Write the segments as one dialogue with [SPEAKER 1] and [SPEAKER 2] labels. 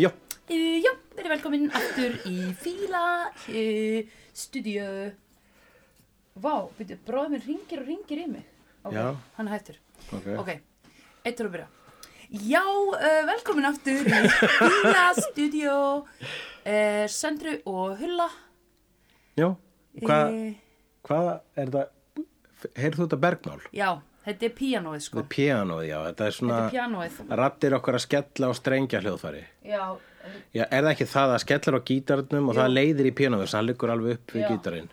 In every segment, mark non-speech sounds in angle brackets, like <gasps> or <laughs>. [SPEAKER 1] Já,
[SPEAKER 2] Uh, Eh, já, verið velkomin aftur í Fíla uh, Studio Vá, veitu, bróðið minn ringir og ringir í mig Ok,
[SPEAKER 1] Já.
[SPEAKER 2] hann er hættur
[SPEAKER 1] ok.
[SPEAKER 2] Ok, eittur og byrja Já, uh, velkomin aftur í Fíla Studio uh, Söndru og Hulla
[SPEAKER 1] Já, hvað
[SPEAKER 2] Eh,
[SPEAKER 1] hva er það, heyrðu þetta bergmál?
[SPEAKER 2] Já, þetta er píanóið
[SPEAKER 1] Þetta
[SPEAKER 2] sko
[SPEAKER 1] er pianoð, já, þetta er
[SPEAKER 2] Þetta er
[SPEAKER 1] svona
[SPEAKER 2] píanóið
[SPEAKER 1] rattir okkar að skella á strengja hljóðfæri.
[SPEAKER 2] Já,
[SPEAKER 1] Já, er það ekki það að skellar á gítarnum og
[SPEAKER 2] Jú.
[SPEAKER 1] það leiðir í pianoð, þannig að hann liggur alveg upp við
[SPEAKER 2] Já.
[SPEAKER 1] gítarinn.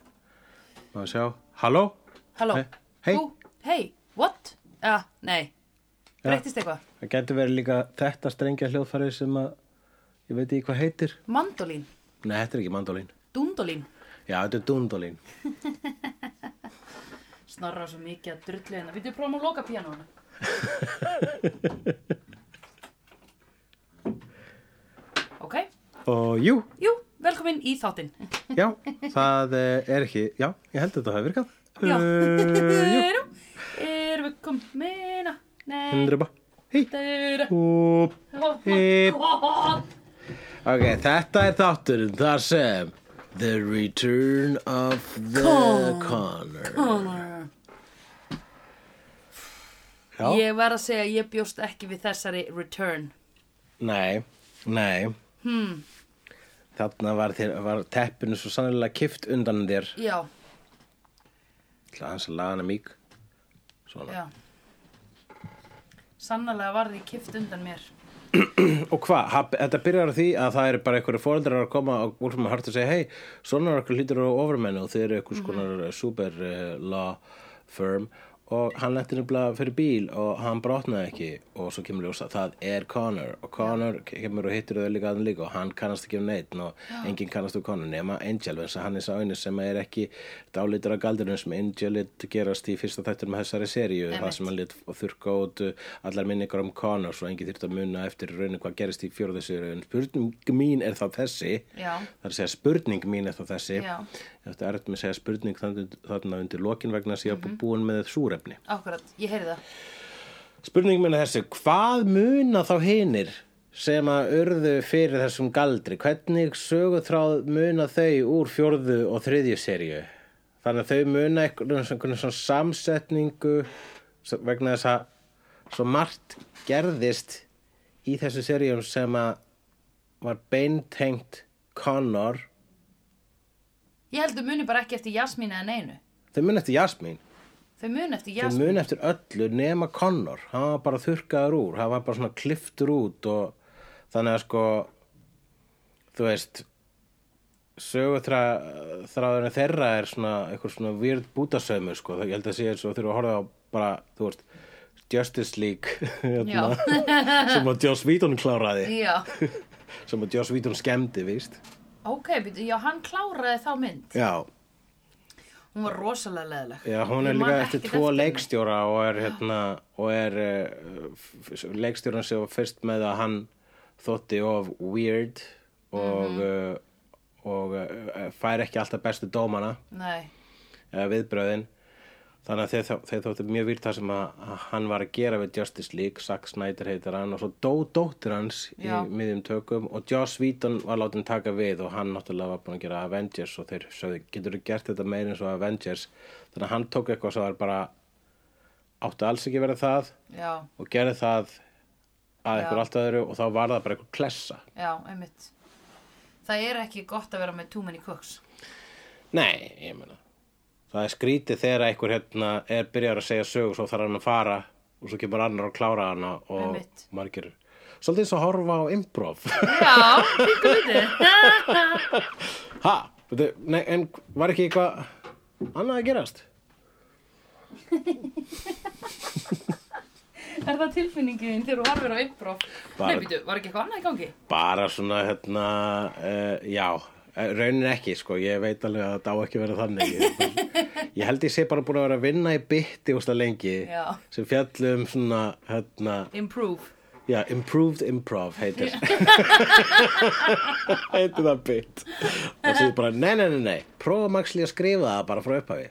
[SPEAKER 1] Má við sjá, halló?
[SPEAKER 2] halló
[SPEAKER 1] He- hey.
[SPEAKER 2] Hú, Hey, what? Já, nei,
[SPEAKER 1] Já.
[SPEAKER 2] breyttist eitthvað
[SPEAKER 1] Það getur verið líka þetta strengja hljóðfæri sem að, ég veit ekki hvað heitir.
[SPEAKER 2] Mandolín,
[SPEAKER 1] Nei, þetta er ekki mandolín.
[SPEAKER 2] dundolín
[SPEAKER 1] Já, þetta er dundolín.
[SPEAKER 2] Snorra svo mikið að drullu hérna. Við þau prófum að loka
[SPEAKER 1] <laughs>
[SPEAKER 2] píanónu. ok,
[SPEAKER 1] Og jú,
[SPEAKER 2] jú, velkomin í þáttinn.
[SPEAKER 1] já, það eh, er ekki, já, ég held að þetta hafi virkað.
[SPEAKER 2] Já.
[SPEAKER 1] Eh, jú.
[SPEAKER 2] Erum erum við komin að... Nei,
[SPEAKER 1] Hundra bara, hei,
[SPEAKER 2] það eru...
[SPEAKER 1] húp. Hip.
[SPEAKER 2] Þetta
[SPEAKER 1] Ok, þetta er þátturinn þar sem The Return of the
[SPEAKER 2] Con-
[SPEAKER 1] Connor.
[SPEAKER 2] Connor.
[SPEAKER 1] Já,
[SPEAKER 2] Ég verð að segja að ég bjóst ekki við þessari return.
[SPEAKER 1] nei, nei. Hmm. Þarna var, þér, var teppinu svo sannlega kift undan þér.
[SPEAKER 2] Já,
[SPEAKER 1] Það hans að laga hana mýk. Svona.
[SPEAKER 2] já. Sannarlega var því kift undan mér.
[SPEAKER 1] Og hvað, ha- þetta byrjar á því að það eru bara einhverju fóreldrar að koma og úlfum að harta og segja, hei, svona er okkur hlýtur á ofurmennu og þið eru einhvers konar mm super uh, law firm og hann letti nefnilega fyrir bíl og hann brotnaði ekki og svo kemur ljósa, það er Connor og Connor kemur og hittir þau líka aðan líka og hann kannast ekki um neitt og enginn kannast um Connor nema Angel eins og hann er sá einu sem er ekki dálitur af galdurinn sem Angel lit gerast í fyrsta þættur með þessari seríu
[SPEAKER 2] Einmitt.
[SPEAKER 1] það sem hann lit þurrka út uh, allar minningar um Connor svo enginn þurft að muna eftir rauninu hvað gerist í fjórðu seríu en spurning mín er það þessi
[SPEAKER 2] Já.
[SPEAKER 1] það er að segja spurning mín er það þessi
[SPEAKER 2] Já.
[SPEAKER 1] Þetta er eftir með að segja spurning þannig- þarna undir lokin vegna þess að ég
[SPEAKER 2] Mhm.
[SPEAKER 1] mm búin með súrefni.
[SPEAKER 2] Akkurat, ég heyrði það.
[SPEAKER 1] Spurning minna þessi, hvað muna þá hinir sem að urðu fyrir þessum galdri? Hvernig sögutráð muna þau úr fjórðu og þriðju seríu? Þannig að þau muna einhvern svona, svona samsetningu s- vegna þess að svo margt gerðist í þessu seríum sem að var beintengt Connor.
[SPEAKER 2] Ég heldur muni bara ekki eftir Jasmín eða neinu.
[SPEAKER 1] Þau muna eftir Jasmine.
[SPEAKER 2] Þau muni eftir
[SPEAKER 1] Þau
[SPEAKER 2] Jasmín.
[SPEAKER 1] muni eftir öllu nema Connor, hann var bara þurrkaður úr, hann var bara svona kliftur út og þannig að sko, þú veist, sögutráðurinn þeirra er svona eitthvað svona weird bútasömu sko, ég held að sé eins og þurfa að horfa á bara, þú veist, Justice League, <laughs> hérna, sem að Joss Whedon kláraði,
[SPEAKER 2] Já,
[SPEAKER 1] <laughs> sem að Joss Whedon skemmdi, víst.
[SPEAKER 2] ok, býtu, já, hann kláraði þá mynd.
[SPEAKER 1] Já,
[SPEAKER 2] Hún var rosalega leðileg.
[SPEAKER 1] Já, hún er líka eftir tvo leikstjóra og er, hérna, og er uh, leikstjóran sem var fyrst með að hann þótti of weird og, mm og uh, fær ekki alltaf bestu dómana
[SPEAKER 2] Nei,
[SPEAKER 1] eða viðbröðin þannig að þeir, þó- þeir þóttu mjög výrt það sem að að hann var að gera við Justice League Zack Snyder heitir hann og svo dó dóttir hans
[SPEAKER 2] Já.
[SPEAKER 1] í miðjum tökum og Joss Whedon var látin taka við og hann náttúrulega var búin að gera Avengers og þeir sögðu, getur þú gert þetta meir eins og Avengers þannig að hann tók eitthvað sem var bara áttu alls ekki verið það
[SPEAKER 2] já,
[SPEAKER 1] og gerði það að
[SPEAKER 2] Já.
[SPEAKER 1] einhver allt öðru og þá var það bara einhver klessa
[SPEAKER 2] já, einmitt. Það er ekki gott að vera með too many cooks.
[SPEAKER 1] Nei, ég meina Það er skrítið þegar einhver hérna er byrjar að segja sög og svo þarf hann að fara og svo kemur annar að klára hana og
[SPEAKER 2] Einmitt.
[SPEAKER 1] margir Svolítið eins og horfa á improv <laughs>
[SPEAKER 2] Já, líka lítið.
[SPEAKER 1] Ha, veitu, nei, en var ekki eitthvað annað að gerast?
[SPEAKER 2] <laughs> er það tilfinningin þín þegar þú horfir á improv?
[SPEAKER 1] Bara-
[SPEAKER 2] Nei, býtu, var ekki eitthvað annað í gangi?
[SPEAKER 1] Bara svona hérna, uh, já, eh, raunin ekki sko, ég veit alveg að það á ekki að vera þannig Ég, ég held ég sé bara búin að vera að vinna í bytti úst að lengi
[SPEAKER 2] Já.
[SPEAKER 1] sem fjallum svona, hérna,
[SPEAKER 2] Improve.
[SPEAKER 1] Já, Improved Improv heitir <laughs> heitir það bit og svo bara, nei, nei, nei, nei prófum axli að skrifa það bara frá upphafi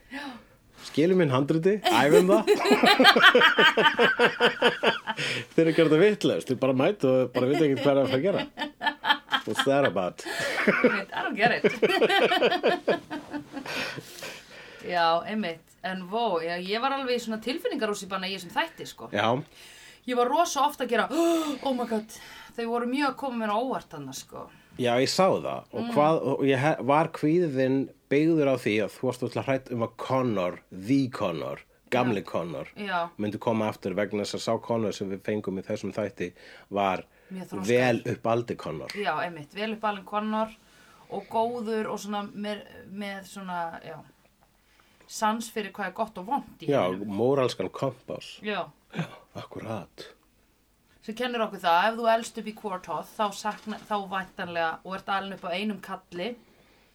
[SPEAKER 1] skilum minn handriti, æfum það <laughs> þeir eru að gera þetta vitlaust þeir bara mætu og bara vita ekkert hvað er að fara að gera What's that about?
[SPEAKER 2] Einmitt, I don't get it Já, einmitt En vó, já, ég var alveg í svona tilfinningarúsi bara í þessum þætti, sko
[SPEAKER 1] <laughs> Já,
[SPEAKER 2] Ég var rosa ofta að gera <gasps> Oh my god, þau voru mjög að koma mér á óvart annars, sko
[SPEAKER 1] já, ég sá það og, hvað, og ég he- var kvíðin byggður á því að þú varst alltaf hrætt um að Connor, the Connor, gamli Connor
[SPEAKER 2] Já.
[SPEAKER 1] myndi koma aftur vegna þess að sá Connor sem við fengum í þessum þætti var
[SPEAKER 2] Mjög þroskaður.
[SPEAKER 1] vel uppaldi Connor
[SPEAKER 2] Já, einmitt, vel upp alveg konar og góður og svona með, með svona, já sans fyrir hvað er gott og vond í
[SPEAKER 1] Já,
[SPEAKER 2] heiminum.
[SPEAKER 1] moralskan kompass
[SPEAKER 2] Já,
[SPEAKER 1] Akkurat
[SPEAKER 2] sem kennir okkur það ef þú elst upp í Quartoth þá, sakna, þá væntanlega og ert alveg upp á einum kalli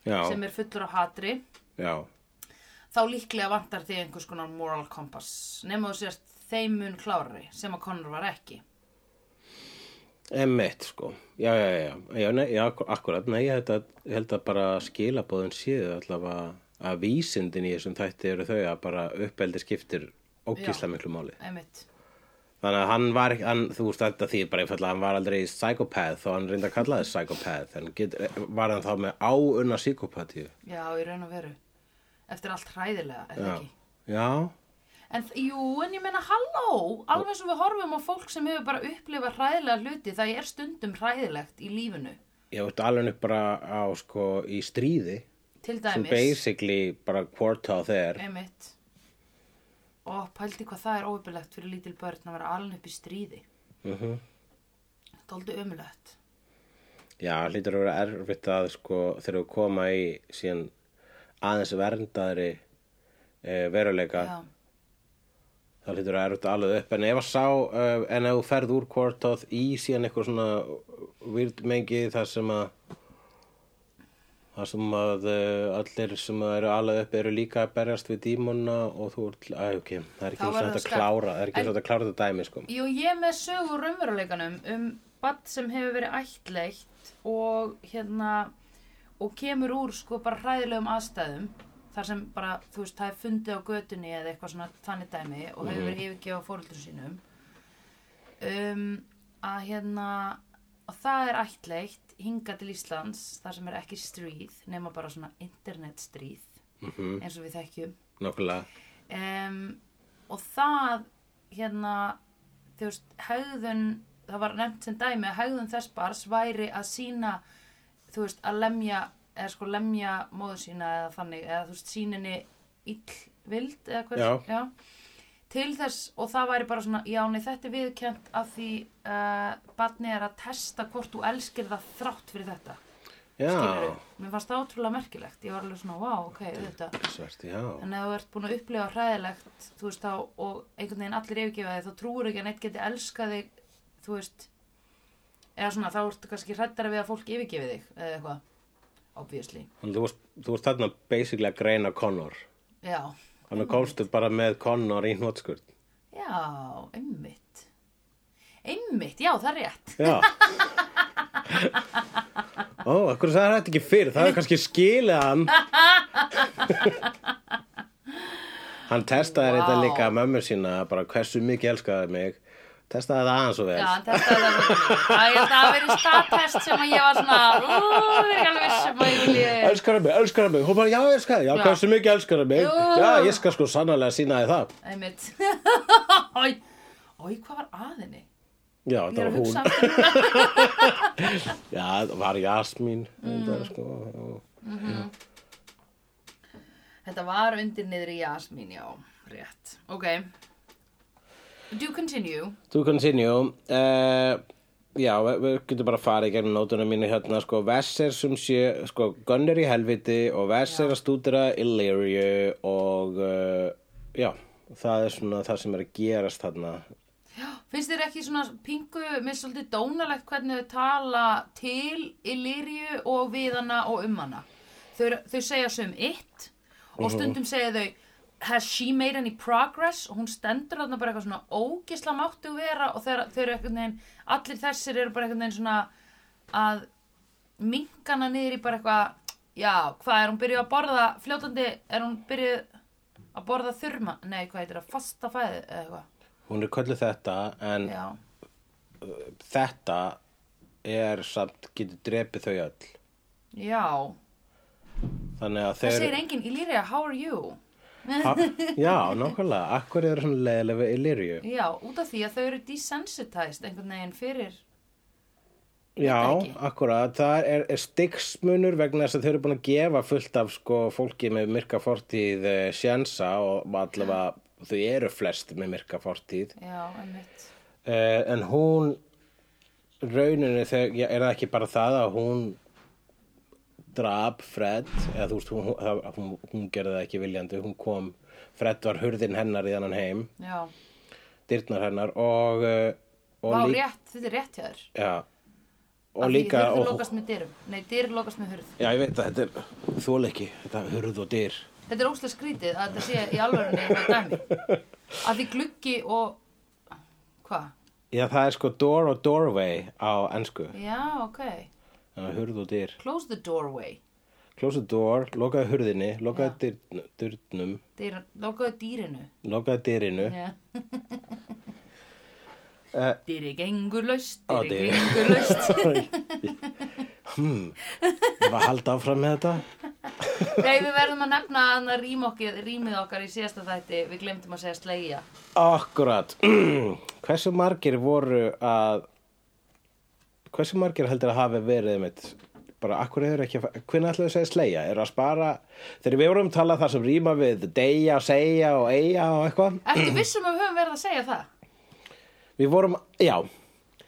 [SPEAKER 1] Já,
[SPEAKER 2] sem er fullur af hatri
[SPEAKER 1] já,
[SPEAKER 2] þá líklega vantar þig einhvers konar moral compass nema þú sért þeim mun klárari sem að Connor var ekki
[SPEAKER 1] Emmett sko, já, já, já, já, nei, já akkur- akkurat, nei, ég held að, ég held að bara skilabóðin séu allavega að vísindin í þessum þætti eru þau að bara uppeldi skiptir ógisla
[SPEAKER 2] Já.
[SPEAKER 1] miklu máli.
[SPEAKER 2] einmitt,
[SPEAKER 1] Þannig að hann var, ekki- hann, þú veist þetta því bara einfallega, að hann var aldrei psychopath þó hann reynda að kalla þess psychopath, en get, var hann þá með áunna psykopatíu?
[SPEAKER 2] já í raun og veru eftir allt hræðilega, er það
[SPEAKER 1] Já,
[SPEAKER 2] ekki
[SPEAKER 1] já,
[SPEAKER 2] En þ- jú, en ég meina halló, alveg eins og við horfum á fólk sem hefur bara upplifað hræðilega hluti, það er stundum hræðilegt í lífinu,
[SPEAKER 1] ég veit alveg upp bara á sko í stríði,
[SPEAKER 2] til
[SPEAKER 1] sem
[SPEAKER 2] dæmis,
[SPEAKER 1] basically bara quarta á þeir.
[SPEAKER 2] einmitt. Og pældi hvað það er óöpilegt fyrir lítil börn að vera alveg upp í stríði.
[SPEAKER 1] Mhm.
[SPEAKER 2] -hmm. Það er aldrei ömulegt.
[SPEAKER 1] Já, hlýtur að vera erfitt að sko, þegar við koma í síðan aðeins verndaðri e, veruleika,
[SPEAKER 2] Já,
[SPEAKER 1] það hlýtur að vera erfitt að alveg upp. En ef að sá, uh, en ef þú ferð úr Quartoth í síðan eitthvað svona virdmengi þar sem að þar sem að uh, allir sem eru alveg upp eru líka að berjast við dímona og þú ert, að ok, það er
[SPEAKER 2] Þá
[SPEAKER 1] ekki eins og
[SPEAKER 2] verður
[SPEAKER 1] þetta
[SPEAKER 2] það
[SPEAKER 1] að
[SPEAKER 2] skarpt.
[SPEAKER 1] klára, það er ekki eins
[SPEAKER 2] En-
[SPEAKER 1] og þetta að klára þetta dæmi, sko.
[SPEAKER 2] Jú, ég er með sögur raunveruleikanum um badd sem hefur verið ættleikt og hérna og kemur úr sko bara hræðilegum aðstæðum þar sem bara, þú veist, það er fundið á götunni eða eitthvað svona þannig dæmi og hefur verið yfirgefa fóröldur sínum um, að hérna og það er ættleikt hingað til Íslands þar sem er ekki stríð nema bara svona internetstríð eins og við þekkjum
[SPEAKER 1] Nákvæmlega,
[SPEAKER 2] um, og það hérna þú veist, hegðun það var nefnt sem dæmi að hegðun þess bars væri að sína þú veist, að lemja eða sko lemja móður sína eða þannig eða þú veist, síninni illvild eða hvers,
[SPEAKER 1] Já.
[SPEAKER 2] til þess og það væri bara svona, já, nei, þetta er viðkjönt af því uh, barni er að testa hvort þú elskir það þrátt fyrir þetta
[SPEAKER 1] já,
[SPEAKER 2] Skilurðu? mér fannst það ótrúlega merkilegt ég var alveg svona, vá, ok, þetta
[SPEAKER 1] svært, já,
[SPEAKER 2] Þannig að þú ert búin að upplifa hræðilegt, þú veist, þá, og einhvern veginn allir yfirgefa þig, þá trúur ekki að neitt geti elskað þig, þú veist, eða svona, þá ertu kannski hrættara við að fólk yfirgefi þig, eða eitthvað, obviously.
[SPEAKER 1] Þannig að þú varst- þú varst þarna basically að greina Connor.
[SPEAKER 2] Já, Mhm.
[SPEAKER 1] Þannig komstu bara með Connor í hnótskurð.
[SPEAKER 2] já, einmitt. Einmitt, já, það er rétt.
[SPEAKER 1] Já. Ó, akkur sagði þetta ekki fyrr, það er kannski skilið hann. hann testaði
[SPEAKER 2] Vá.
[SPEAKER 1] þetta líka mömmu sína, bara hversu mikið elskaði mig. Testaði það aðeins og vel.
[SPEAKER 2] Já, þetta er það. Það er það að vera statest sem að ég var svona, ú, það er ekki alveg sem að ég vilja.
[SPEAKER 1] Elskar mig, elskar mig. Hún bara, já, elskar þig. Já,
[SPEAKER 2] Já.
[SPEAKER 1] hversu mikið elskar mig.
[SPEAKER 2] Jú.
[SPEAKER 1] Já, ég skal sko sannarlega sína þið það.
[SPEAKER 2] Einmitt. <laughs> Ói, ói, hvað var að henni?
[SPEAKER 1] Já,
[SPEAKER 2] Ég
[SPEAKER 1] þetta
[SPEAKER 2] er að
[SPEAKER 1] var
[SPEAKER 2] hugsa
[SPEAKER 1] hún.
[SPEAKER 2] aftur núna.
[SPEAKER 1] Já, það var Jasmín. Mm. Sko, og-
[SPEAKER 2] Þetta var undir niður í Jasmín, já, rétt. Ok. Do continue.
[SPEAKER 1] To continue uh, Já, við, við getum bara að fara í gegnum nótuna mínu hérna sko, Vess er sem sé, sko, Gunn er í helviti og Vess er að stúdera Illyriu og uh, já, það er svona það sem er að gerast þarna
[SPEAKER 2] Finnst þér ekki svona pingu, mér er svolítið dónalegt hvernig þau tala til Illyriu og við hana og um hana. Þau, eru- þau segja sem it og stundum segja þau Has she made any progress? Og hún stendur þarna bara eitthvað svona ógisla máttu vera og þeir, þeir eru eitthvað neginn, allir þessir eru bara eitthvað neginn svona að minkana niður í bara eitthvað já, hvað er hún byrjuð að borða fljótandi, er hún byrjuð að borða þurma, nei hvað heitir það, fasta fæði eða eitthvað,
[SPEAKER 1] Hún er kölluð þetta en
[SPEAKER 2] já
[SPEAKER 1] þetta er samt, getur drepið þau öll.
[SPEAKER 2] Já,
[SPEAKER 1] Þannig að
[SPEAKER 2] það
[SPEAKER 1] þeir...
[SPEAKER 2] segir enginn Illyria, how are you?
[SPEAKER 1] Ha, já, nákvæmlega. Akkur er hann leiðilega við Illyriu?
[SPEAKER 2] Já, út af því að þau eru desensitized einhvern veginn fyrir
[SPEAKER 1] Já,
[SPEAKER 2] ekki.
[SPEAKER 1] akkurat. Það er, er stigsmunur vegna þess að þau eru búin að gefa fullt af sko, fólki með myrka fortíð eh, sjensa og allavega þau eru flest með myrka fortíð.
[SPEAKER 2] Já, einmitt
[SPEAKER 1] Eh, en hún, rauninni, þegar, já, er það ekki bara það að hún drap Fred, eða þú veist, hún, hún, hún, hún gerði það ekki viljandi, hún kom, Fred var hurðin hennar í þannan heim,
[SPEAKER 2] Já,
[SPEAKER 1] dyrnar hennar og... eh, og
[SPEAKER 2] Vá,
[SPEAKER 1] lík-
[SPEAKER 2] rétt, þetta er rétt hjá þér
[SPEAKER 1] Já,
[SPEAKER 2] Af
[SPEAKER 1] og
[SPEAKER 2] því
[SPEAKER 1] líka...
[SPEAKER 2] Hurð
[SPEAKER 1] og-
[SPEAKER 2] lokast með dyrum, nei, dyr lokast með hurð
[SPEAKER 1] Já, ég veit að þetta er þóleiki, þetta er hurð og dyr.
[SPEAKER 2] Þetta er óslega skrítið að þetta sé í alvörunni eitthvað dæmi
[SPEAKER 1] <laughs>
[SPEAKER 2] Að því gluggi og Hva?
[SPEAKER 1] Já, það er sko door og doorway á ennsku.
[SPEAKER 2] Já, ok
[SPEAKER 1] Þannig að hurð og dyr.
[SPEAKER 2] Close the doorway
[SPEAKER 1] Close the door, lokaði hurðinni, lokaði dyr, dyrnum,
[SPEAKER 2] Dyr, Lokaðu dýrinu
[SPEAKER 1] lokaði dyrinu.
[SPEAKER 2] Já <laughs>
[SPEAKER 1] Eh.
[SPEAKER 2] Dýri gengur laust,
[SPEAKER 1] Á,
[SPEAKER 2] dýri
[SPEAKER 1] dyr.
[SPEAKER 2] gengur
[SPEAKER 1] <laughs>
[SPEAKER 2] laust
[SPEAKER 1] hmm, ég var að halda áfram með þetta.
[SPEAKER 2] Nei, við verðum að nefna að rýmokkið, rýmið okkar í síðasta þætti, við glemdum að segja slegja.
[SPEAKER 1] Akkurat. <clears throat> hversu margir voru að, hversu margir heldur að hafi verið mitt? Bara, akkur hefur ekki að, hvernig ætlaðu að segja sleia? Er að spara, þegar við vorum að tala það sem rýma við deyja, segja og eiga og eitthvað. <clears throat>
[SPEAKER 2] Ertu vissum að við höfum verið að segja það?
[SPEAKER 1] Við vorum, já,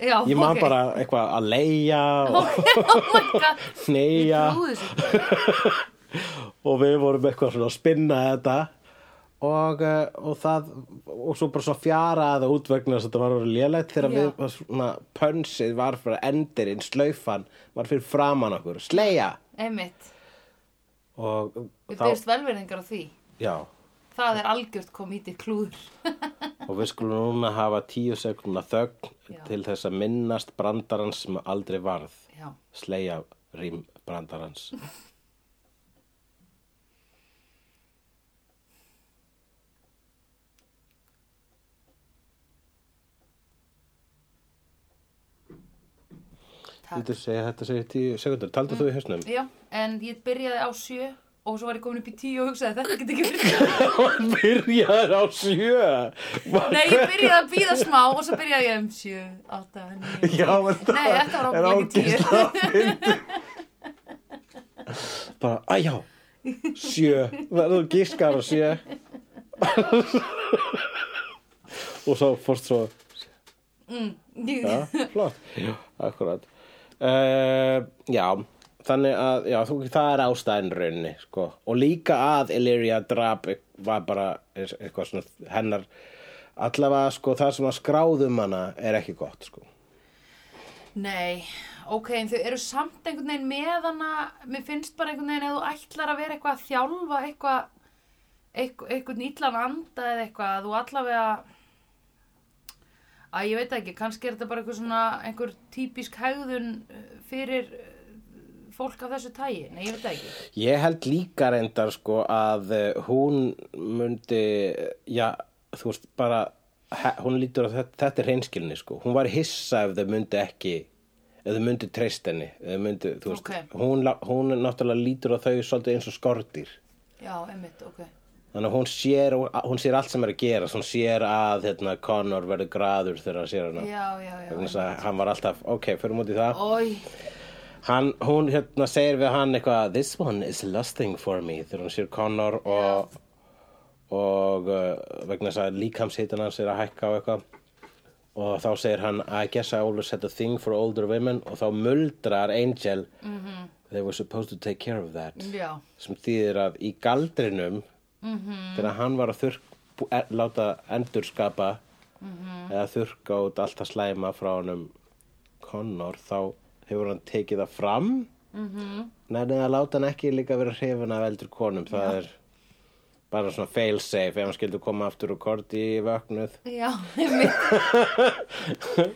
[SPEAKER 2] Já,
[SPEAKER 1] ég man
[SPEAKER 2] ok.
[SPEAKER 1] bara eitthvað að leia og
[SPEAKER 2] <laughs>
[SPEAKER 1] <laughs>
[SPEAKER 2] oh my god,
[SPEAKER 1] neyja
[SPEAKER 2] ég trúi þessu. ekki.
[SPEAKER 1] og við vorum eitthvað svona að spinna þetta og, eh, og það og svo bara svo fjaraði út vegna þess að þetta var orðið lélegt þegar
[SPEAKER 2] Já.
[SPEAKER 1] við var svona pönsið var fyrir endirinn, slaufan var fyrir framan okkur, sleia
[SPEAKER 2] Einmitt,
[SPEAKER 1] og
[SPEAKER 2] við
[SPEAKER 1] þá,
[SPEAKER 2] byrjast velverðingar á því.
[SPEAKER 1] já
[SPEAKER 2] Það er algjört komítið klúður. <laughs>
[SPEAKER 1] og við skulum núna hafa tíu sekundna þögn
[SPEAKER 2] Já.
[SPEAKER 1] til þess að minnast brandarans sem aldrei varð
[SPEAKER 2] Já,
[SPEAKER 1] sleia rým brandarans
[SPEAKER 2] takk.
[SPEAKER 1] Myndir segja þetta segja tíu sekundur, taldu þú í hausnum?
[SPEAKER 2] Mm.
[SPEAKER 1] <laughs>
[SPEAKER 2] Já, en ég byrjaði á sjö og svo var ég komin upp í tíu og hugsaði þetta geti ekki verið. <laughs>
[SPEAKER 1] Hún byrjar á sjö Var-
[SPEAKER 2] Nei, ég byrjaði að býða smá og svo byrjaði ég um sjö, átta, níu.
[SPEAKER 1] Já, en það
[SPEAKER 2] Nei, þetta var
[SPEAKER 1] er
[SPEAKER 2] ábyggilega ekki tíu.
[SPEAKER 1] ágæslega fyndið. Bara, að já, sjö Verður gískar á sjö Og svo fórst svo Já, flott Já, akkurat uh, Já, þannig að já, þú, það er ástæðin rauninni sko. og líka að Illyria drap e-, var bara er- eitthvað svona hennar allavega sko það sem að skráðum hana er ekki gott sko
[SPEAKER 2] Nei, ok, en þau eru samt einhvern veginn með hana, mér finnst bara einhvern veginn að þú ætlar að vera eitthvað að þjálfa eitthvað, eitthvað, eitthvað nýtlan anda eða eitthvað, að þú allavega, að ég veit ekki, kannski er þetta bara einhver svona, einhver típisk hegðun eh, fyrir eh, fólk af þessu tægi, nei, ég veit ekki.
[SPEAKER 1] Ég held líka reyndar sko að eh, hún mundi, já, þú veist, bara, he- hún lítur að þetta, þetta er hreinskilni sko. Hún var hissa ef þau mundi ekki, ef þau mundi treyst henni, ef þau mundi, þú veist,
[SPEAKER 2] Ok.
[SPEAKER 1] hún, lá- hún náttúrulega lítur að þau svolítið eins og skortir.
[SPEAKER 2] Já, einmitt, ok.
[SPEAKER 1] Þannig að hún sér, hún sér allt sem er að gera, hún sér að hérna, Connor verður graður þegar hann sér hana.
[SPEAKER 2] Já, já, já.
[SPEAKER 1] Þannig að hann var alltaf, ok, förum út í það.
[SPEAKER 2] Ói,
[SPEAKER 1] Hann, hún hérna segir við hann eitthvað This one is lusting for me þegar hún sér Connor og, og uh, vegna þess að líkamshittan hans er að hækka og eitthvað og þá segir hann I guess I always had a thing for older women og þá muldrar Angel They were supposed to take care of that
[SPEAKER 2] já,
[SPEAKER 1] sem þýðir að í galdrinum
[SPEAKER 2] Mhm.
[SPEAKER 1] þegar hann var að þurrk bú- e, láta endurskapa
[SPEAKER 2] Mhm.
[SPEAKER 1] eða þurrka út allt að slæma frá honum Connor þá hefur hann tekið það fram
[SPEAKER 2] Mhm.
[SPEAKER 1] nærnið að láta hann ekki líka vera hrifin af eldur konum það er bara svona fail safe ef hann skildi koma aftur og korti í vöknuð
[SPEAKER 2] já, <laughs> einmitt.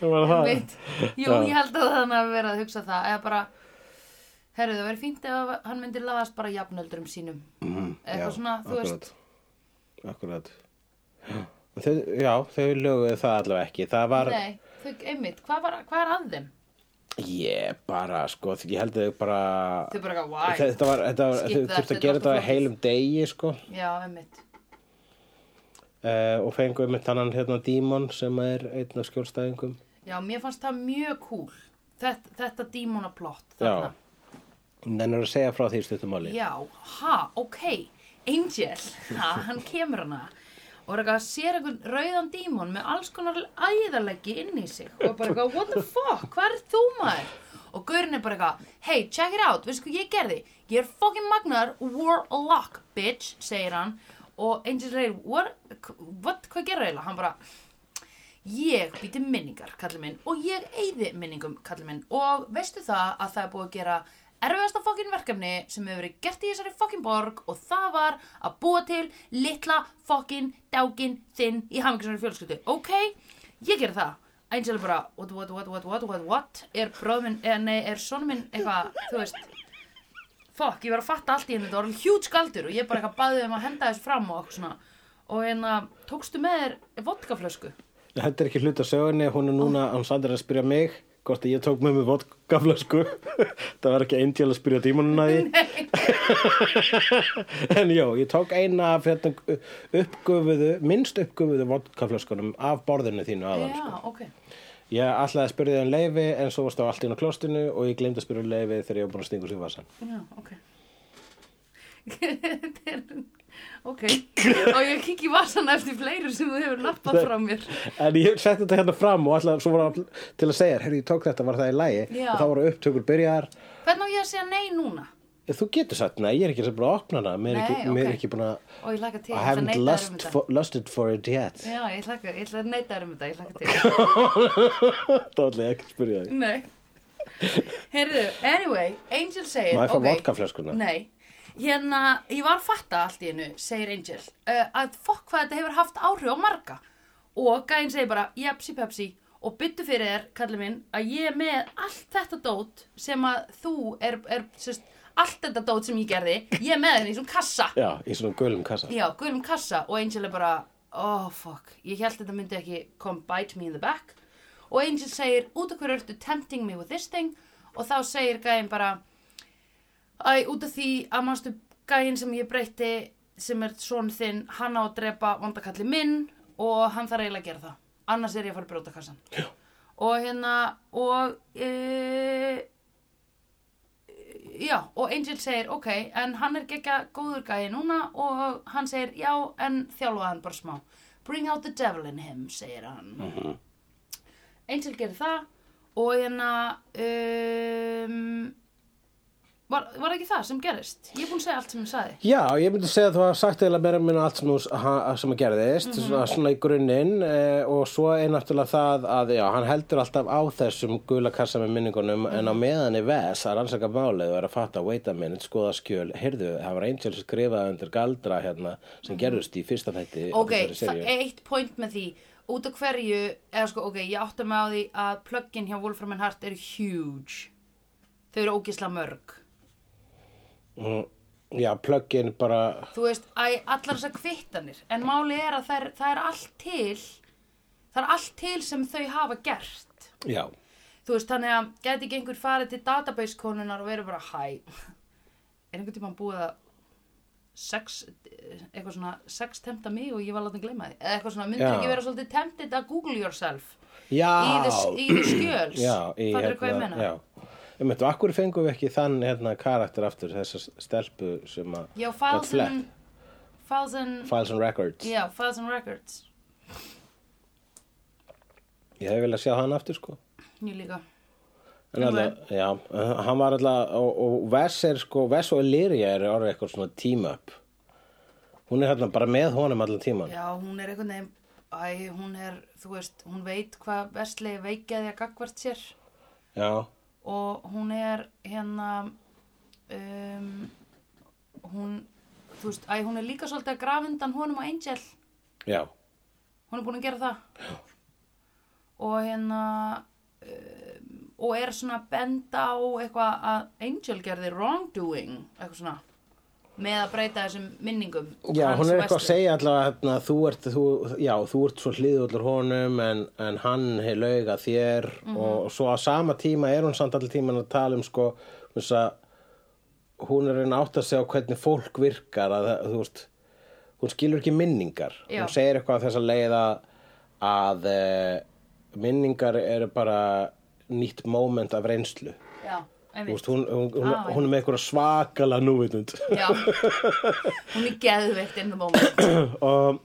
[SPEAKER 1] <laughs> var það
[SPEAKER 2] Einmitt. Jú, ég held að þannig að vera að hugsa það eða bara, herru það verið fínt ef að hann myndi laðast bara jafnöldurum sínum mm, eitthvað svona, þú veist
[SPEAKER 1] Mhm, akkurat Já. Þau, já, þau löguðu það allavega ekki það var
[SPEAKER 2] nei, þau, einmitt, hvað, var, hvað er að þeim?
[SPEAKER 1] Ég bara, sko, því ég held að þau bara
[SPEAKER 2] Þau bara eitthvað, why?
[SPEAKER 1] Þetta var, þetta var,
[SPEAKER 2] Skip
[SPEAKER 1] þau
[SPEAKER 2] that,
[SPEAKER 1] þurftu
[SPEAKER 2] þetta
[SPEAKER 1] að gera
[SPEAKER 2] er alltaf
[SPEAKER 1] þetta heilum degi, sko
[SPEAKER 2] Já, einmitt.
[SPEAKER 1] uh, og fengu einmitt annan hérna dímon sem er einn af skjólstæðingum
[SPEAKER 2] Já, mér fannst það mjög cool. Þetta, þetta dímonaplott þarna.
[SPEAKER 1] Nennir að segja frá því í stuttumáli
[SPEAKER 2] Já, ha, ok. Angel, <laughs> ha, hann kemur hana. Og er eitthvað að sér einhvern rauðan dímon með alls konar æðarleggi inn í sig. Og er bara eitthvað, what the fuck, hvað er þú maður? Og gaurinn er bara eitthvað, hey, check it out, veistu hvað ég gerði? Ég er fucking magnar, warlock, bitch, segir hann. Og Angel reyður, what, what, hvað gerir eiginlega? Hann bara, ég býti minningar, kallið minn, og ég eyði minningum, kallið minn, og veistu það að það er búið að gera erfiðasta fokkin verkefni sem hefur verið gert í þessari fokkin borg og það var að búa til litla fokkin dákin þinn í hamingisari fjölskyldu, ok? Ég gerði það. Angel er bara, what, what, what, what, what, what, what, er bróð minn, eða nei, er sonur minn eitthvað, þú veist, fokk, ég var að fatta allt í henni, þetta var alveg hjúts galdur og ég bara eitthvað baðið um að henda þessu fram og okkur svona, og hérna, tókstu með þér vodkaflösku?
[SPEAKER 1] Þetta er ekki hlut að sögunni, hún er núna hann Sandra er að spyrja mig hvort að ég tók með mig vodkafla sko <laughs> það var ekki eindjál að spyrja dímonuna
[SPEAKER 2] <laughs>
[SPEAKER 1] því en já, ég tók eina af hérna, uppgufuðu, minnst uppgufuðu vodkaflöskunum af borðinu þínu sko. aðan
[SPEAKER 2] Já, ok.
[SPEAKER 1] Ég ætlaði að spyrja þig um leifi en svo varst það allt inn á klostinu og ég glemdi að spyrja um leifi þegar ég var búin að stinga sér vasan.
[SPEAKER 2] Já, ok. <laughs> Þetta er...
[SPEAKER 1] <laughs>
[SPEAKER 2] Ok. Og ég kikki vasana eftir fleiri sem þú hefur lappað frá mér.
[SPEAKER 1] En ég setti þetta hérna fram og ætlaði svo var að, til að segja, herri, ég tók þetta, var það í lægi?
[SPEAKER 2] Já.
[SPEAKER 1] Og þá voru upptökur byrjaðar.
[SPEAKER 2] Hvernig á ég að segja nei núna?
[SPEAKER 1] Þú getur sagt, nei, ég er ekki sem bara að opna hana, mér
[SPEAKER 2] Nei,
[SPEAKER 1] er ekki,
[SPEAKER 2] ok.
[SPEAKER 1] mér er ekki búin að,
[SPEAKER 2] Og ég hlaka til.
[SPEAKER 1] I
[SPEAKER 2] ég ætla að
[SPEAKER 1] haven't
[SPEAKER 2] neita þér um
[SPEAKER 1] lust
[SPEAKER 2] þetta.
[SPEAKER 1] for, lusted for it yet. <laughs>
[SPEAKER 2] Já, ég hlaka, ég ætla að neita þér um þetta, ég hlaka til.
[SPEAKER 1] þá ætlaði ég ekki að spyrja þig.
[SPEAKER 2] Nei. Heyrðu, anyway, Angel segir...
[SPEAKER 1] Má ég fá
[SPEAKER 2] ok.
[SPEAKER 1] vodkaflöskuna?
[SPEAKER 2] Nei. Hérna, ég var að fatta allt í hennu, segir Angel, uh, að fokk hvað þetta hefur haft áhrif á marga. Og gæinn segir bara, jepsi pepsi, og byttu fyrir þér, kallið minn, að ég er með allt þetta dót sem að þú er, er sérst, allt þetta dót sem ég gerði, ég er með henni í svona kassa.
[SPEAKER 1] Já, í svona gulum kassa.
[SPEAKER 2] Já, gulum kassa og Angel er bara, oh fuck, ég held þetta myndi ekki come bite me in the back. Og Angel segir, út af hverju ertu tempting me with this thing? Og þá segir gæinn bara, æ, út af því að mannstu gæinn sem ég breytti, sem er svon þinn, hann á að drepa vandakalli minn og hann þarf eiginlega að gera það. Annars er ég að fara að brjóta kassan. Já. Og hérna, og... E já, og Angel segir, ok, en hann er gekkja góður gæði núna og hann segir, já, en þjálfa hann bara smá. Bring out the devil in him, segir hann. Angel gerir það og hérna, um, var, var ekki það sem gerist? Ég er búin að segja allt sem ég sagði.
[SPEAKER 1] Já, ég myndi segja að þú hafði sagt eða meira um minna allt sem, þú- ha- sem að gerðist,
[SPEAKER 2] Mhm.
[SPEAKER 1] svona, svona í grunninn eh, og svo er náttúrulega það að já, hann heldur alltaf á þessum gula kassa með minningunum en
[SPEAKER 2] Mhm.
[SPEAKER 1] á meðan í ves að rannsaka málið og er að fatta, wait a minute, skoða skjöl, heyrðu, það var Angel skrifað undir galdra hérna sem gerðust í fyrsta þætti á
[SPEAKER 2] Mhm. Ok,
[SPEAKER 1] þessari
[SPEAKER 2] það-
[SPEAKER 1] seríu.
[SPEAKER 2] eitt point með því, út af hverju, eða sko, ok, ég átta mig á því að plugin hjá Wolfram and Hart eru huge. Þau eru ógisla mörg.
[SPEAKER 1] Mm, Já, plugin bara,
[SPEAKER 2] þú veist, æ, allar þessar kvittanir en máli er að það er, það er allt til það er allt til sem þau hafa gert
[SPEAKER 1] já,
[SPEAKER 2] þú veist, þannig að geti ekki einhver farið til database konunar og verið bara hæ er einhvern tímann búið að sex, eitthvað svona sex temta mig og ég var látið að gleyma því eða eitthvað svona, myndir
[SPEAKER 1] Já.
[SPEAKER 2] ekki vera svolítið temptið að google yourself
[SPEAKER 1] já,
[SPEAKER 2] í þess, í þess skjöls
[SPEAKER 1] já, í hérna,
[SPEAKER 2] það er hvað ég menna
[SPEAKER 1] já. Ég myndi, akkur fengum við ekki þann hérna karakter aftur, þessa stelpu sem að
[SPEAKER 2] já,
[SPEAKER 1] gat
[SPEAKER 2] files
[SPEAKER 1] flett.
[SPEAKER 2] and files and,
[SPEAKER 1] Files and Records
[SPEAKER 2] já, files and records
[SPEAKER 1] Ég hef viljað sjá hann aftur sko
[SPEAKER 2] nýr líka
[SPEAKER 1] En
[SPEAKER 2] Nú
[SPEAKER 1] alltaf, já, uh, hann var alltaf og, og Vess er sko, Vess og Illyria er orðið eitthvað svona team up Hún er hérna bara með honum allan tíman
[SPEAKER 2] Já, hún er einhvern veginn, æ, hún er, þú veist, hún veit hvað verslegi veikjaði að gagvart sér
[SPEAKER 1] Já,
[SPEAKER 2] og hún er hérna, um, hún, þú veist, æ, hún er líka svolítið að grafa undan honum og Angel,
[SPEAKER 1] já,
[SPEAKER 2] hún er búin að gera það. Og hérna, um, og er svona að benda á eitthvað að Angel gerði wrongdoing, eitthvað svona. með að breyta þessum minningum
[SPEAKER 1] Já,
[SPEAKER 2] hans
[SPEAKER 1] hún er
[SPEAKER 2] vestur.
[SPEAKER 1] eitthvað að segja allavega hérna, þú, ert, þú, já, þú ert svo hliðullur honum en, en hann hefur lauga þér
[SPEAKER 2] Mhm.
[SPEAKER 1] og svo á sama tíma er hún samt allir tíman að tala um sko, þess að hún er að reyna að átta sig á hvernig fólk virkar að, það- þú veist, hún skilur ekki minningar
[SPEAKER 2] Já.
[SPEAKER 1] hún segir eitthvað að þess að leiða að e, minningar eru bara nýtt moment af reynslu
[SPEAKER 2] Já,
[SPEAKER 1] Þú
[SPEAKER 2] einmitt
[SPEAKER 1] veist, hún, hún, hún,
[SPEAKER 2] Ah,
[SPEAKER 1] hún er með eitthvað svakala núvitund
[SPEAKER 2] Já, hún er geðveikt in the moment
[SPEAKER 1] og,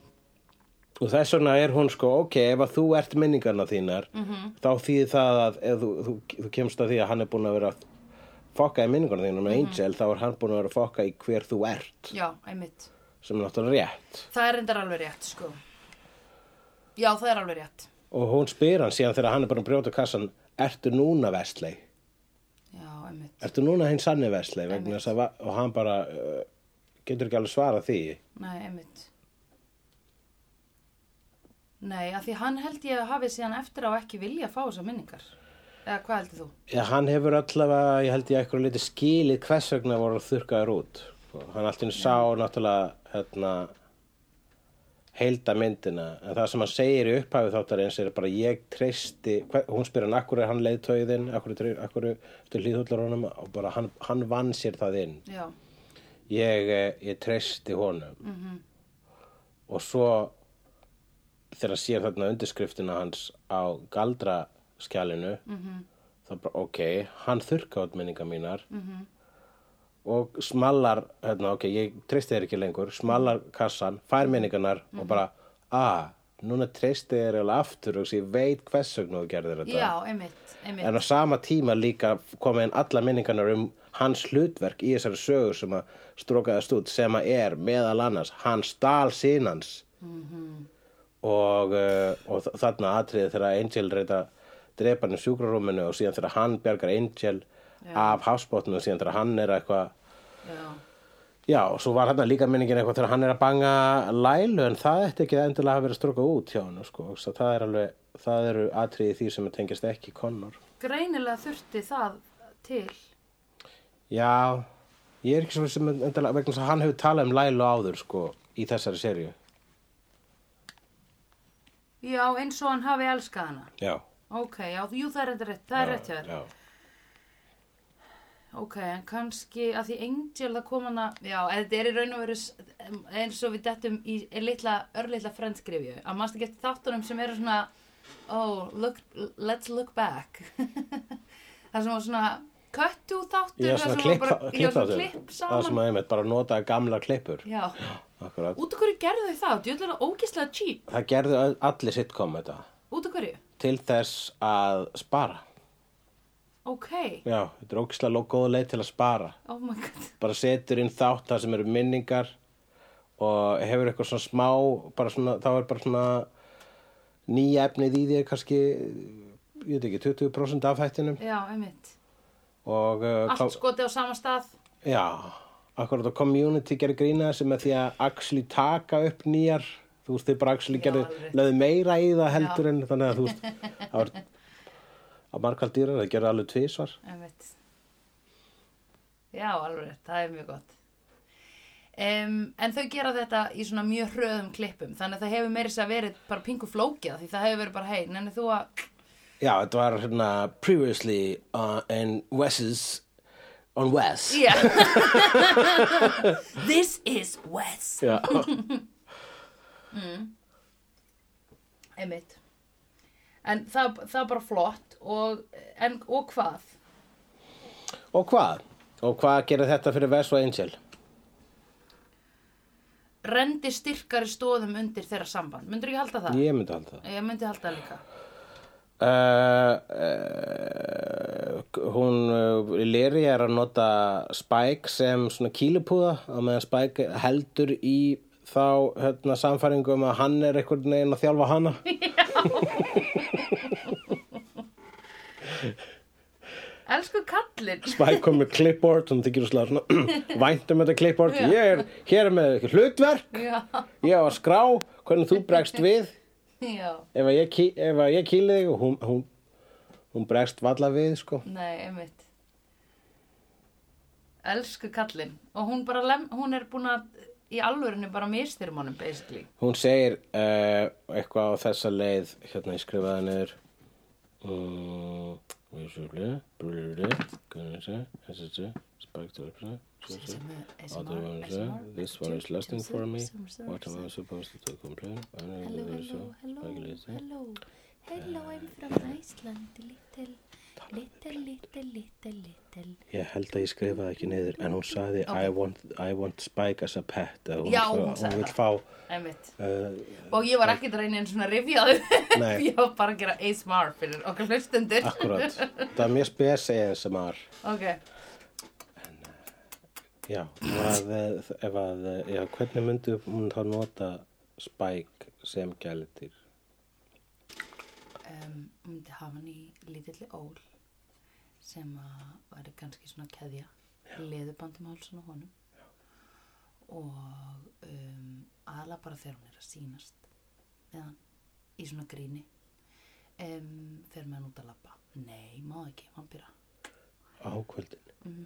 [SPEAKER 1] og þess vegna er hún sko ok, ef að þú ert minningarna þínar -hmm. þá þýðir það að ef þú, þú, þú kemst að því að hann er búin að vera að fokka í minningarna þínar með Angel þá er hann búin að vera að fokka í hver þú ert
[SPEAKER 2] Já, einmitt
[SPEAKER 1] sem er náttúrulega rétt
[SPEAKER 2] Það er reyndar alveg rétt, sko Já, það er alveg rétt
[SPEAKER 1] og hún spyr hann síðan þegar hann er bara að brjóta kassan ertu núna vestlei
[SPEAKER 2] Já, einmitt
[SPEAKER 1] ertu núna hinn sanni vestlei vegna þess að va- og hann bara uh, getur ekki alveg svara því
[SPEAKER 2] Nei, einmitt Nei, af því hann held ég að hafi síðan eftir á ekki vilja að fá þessar minningar Eða hvað heldur þú?
[SPEAKER 1] Já, hann hefur allavega, ég held ég eitthvað liti skilið hvers vegna voru þurrkaður út. Og Hann allt í henni sá náttúrulega hérna, heilda myndina. En það sem hann segir í upphæfi þáttarins er bara ég treysti, hver, hún spyr hann akkur er hann leiðtögiðinn, akkur, er- akkur er hlýðhullar honum og bara hann, hann vann sér það inn.
[SPEAKER 2] Já,
[SPEAKER 1] Ég, eh, ég treysti honum.
[SPEAKER 2] mhm.
[SPEAKER 1] Og svo þegar hann sér þarna undirskriftina hans á galdraskjalinu þá bara ok, hann þurrka át minningar mínar -hmm. og smallar hérna, ok, ég treysti þér ekki lengur smallar kassan, fær minningarnar og bara, a, ah, núna treysti þér eiginlega aftur og ég veit hvers vegna þú gerðir þetta
[SPEAKER 2] já, einmitt, einmitt
[SPEAKER 1] en á sama tíma líka koma inn alla minningarnar um hans hlutverk í þessari sögur sem að strókaðast út sem að er meðal annars hans dal sínans og, uh, og þ- þarna atriði þegar Angel reyta drepa hann í sjúkrarúminu og síðan þegar hann bjargar Angel af hafsbótnu og síðan þegar hann er eitthvað
[SPEAKER 2] Já,
[SPEAKER 1] Já, og svo var hann líka minningin eitthvað þegar hann er að banga Lælu en það eftir ekki endilega að vera strókað út hjá hann sko. Svo það, er alveg, það eru atriði í því sem tengist ekki Connor
[SPEAKER 2] greinilega þurfti það til
[SPEAKER 1] Já, ég er ekki svo sem endalega vegna þess að hann hefur talað um Lailu áður sko í þessari serju.
[SPEAKER 2] Já, eins og hann hafi elskað hana
[SPEAKER 1] Já.
[SPEAKER 2] Ok, já, jú, það er reyndar rétt, það er rétt hjá þér
[SPEAKER 1] Já,
[SPEAKER 2] Ok, en kannski að því Angel það kom hana Já, en þetta er í raun og veru s- eins og við dettum í í litla, örlitla frendskriðju að mannst ekki eftir þáttunum sem eru svona Oh, look, let's look back <laughs> Það sem var svona cut to þáttur
[SPEAKER 1] já
[SPEAKER 2] þar sem
[SPEAKER 1] svona
[SPEAKER 2] var
[SPEAKER 1] klipp,
[SPEAKER 2] bara- já,
[SPEAKER 1] klipp
[SPEAKER 2] svona
[SPEAKER 1] á þau.
[SPEAKER 2] klipp
[SPEAKER 1] Það sem
[SPEAKER 2] saman
[SPEAKER 1] að einmitt bara notaði gamla klippur.
[SPEAKER 2] Já,
[SPEAKER 1] Akkurat.
[SPEAKER 2] út af hverju gerðu þau það? Djöðlega ógislega cheap
[SPEAKER 1] Það gerðu öll- allir sitcom þetta
[SPEAKER 2] Út af hverju?
[SPEAKER 1] til þess að spara.
[SPEAKER 2] Ok,
[SPEAKER 1] Já, þetta er ógislega ló- góð leið til að spara.
[SPEAKER 2] oh my god
[SPEAKER 1] Bara setur inn þátt það sem eru minningar og hefur eitthvað svona smá, bara svona, þá er bara svona nýja efnið í þér kannski, ég veit ekki, 20% af hættinum.
[SPEAKER 2] Já, einmitt
[SPEAKER 1] og uh,
[SPEAKER 2] Allt sko. skotið á sama stað
[SPEAKER 1] já, akkurat og community gerir grína sem er því að actually taka upp nýjar þú veist, þeir bara actually
[SPEAKER 2] Já,
[SPEAKER 1] gerir
[SPEAKER 2] alveg.
[SPEAKER 1] löðu meira í það heldur en þannig að þú veist það var að markald dýrar, það gerir alveg tvísvar
[SPEAKER 2] Einmitt. Já, alveg, rétt, það er mjög gott. Um, en þau gera þetta í svona mjög hröðum klippum, þannig að það hefur meiri sér verið bara pingu flókið, því það hefur verið bara, hei, nenni þú að,
[SPEAKER 1] já, þetta var hérna previously uh, in Wes's on Wes
[SPEAKER 2] <laughs> já, this is Wes,
[SPEAKER 1] já,
[SPEAKER 2] einmitt. En það, það er bara flott og, en, og hvað?
[SPEAKER 1] og hvað? og hvað gerir þetta fyrir Wes og Angel?
[SPEAKER 2] Rendi styrkari stóðum undir þeirra samband, myndur ekki halda það?
[SPEAKER 1] ég myndi halda það
[SPEAKER 2] Ég myndi halda það líka.
[SPEAKER 1] Uh, uh, hún uh, Leri er að nota Spike sem svona kýlupúða á meðan Spike heldur í þá hérna, samfæringum að hann er einhvern veginn að þjálfa hana
[SPEAKER 2] Elsku kallinn.
[SPEAKER 1] Spike kom með clipboard hún þykir úslega svona <clears throat> vænt um þetta clipboard ég er hér er með hlutverk
[SPEAKER 2] <laughs> Já,
[SPEAKER 1] ég á að skrá hvernig þú bregst við
[SPEAKER 2] já,
[SPEAKER 1] ef að ég, ký- ef að ég kýli þig og hún, hún, hún bregst valla við sko
[SPEAKER 2] nei, einmitt. elsku kallinn og hún bara lem, hún er búin að í alvörinu bara mistýrum honum basically
[SPEAKER 1] Hún segir uh, eitthvað á þessa leið hérna ég skrifaði niður Mm, vissulega, brúlega, gunnisa, hessitsu, spæktulepsa, This one is lasting for me. What am I supposed to complain? I don't know
[SPEAKER 3] Hello,
[SPEAKER 1] this
[SPEAKER 3] hello,
[SPEAKER 1] one.
[SPEAKER 3] hello, Eh,
[SPEAKER 1] Spækulator.
[SPEAKER 3] hello. Hello, I'm from Iceland. Little, little, little, little, little.
[SPEAKER 1] Ég held að ég skrifaði ekki niður en hún sagði I, want, I want Spike as a pet að hún,
[SPEAKER 2] Já,
[SPEAKER 1] svo-
[SPEAKER 2] hún sagði
[SPEAKER 1] hún vil
[SPEAKER 2] það.
[SPEAKER 1] fá
[SPEAKER 2] Einmitt.
[SPEAKER 1] uh,
[SPEAKER 2] og ég var ekkert að reyna einn svona rifjaðu
[SPEAKER 1] Nei.
[SPEAKER 2] <laughs> ég var bara að gera ASMR fyrir okkar hlustundur <laughs>
[SPEAKER 1] akkurat það er mjög spes E ASMR
[SPEAKER 2] ok,
[SPEAKER 1] já, að, eh, ef að, eh, já, hvernig myndi hún þá nota Spike sem gælitir
[SPEAKER 2] um, myndi hafa hann í lítilli ól sem að væri kannski svona keðja leðubandum hálsinn á honum og um, aðla bara þegar hún er að sýnast með hann í svona gríni um, fer með hann út að labba nei, má ekki, vampýra
[SPEAKER 1] á kvöldin
[SPEAKER 2] <laughs>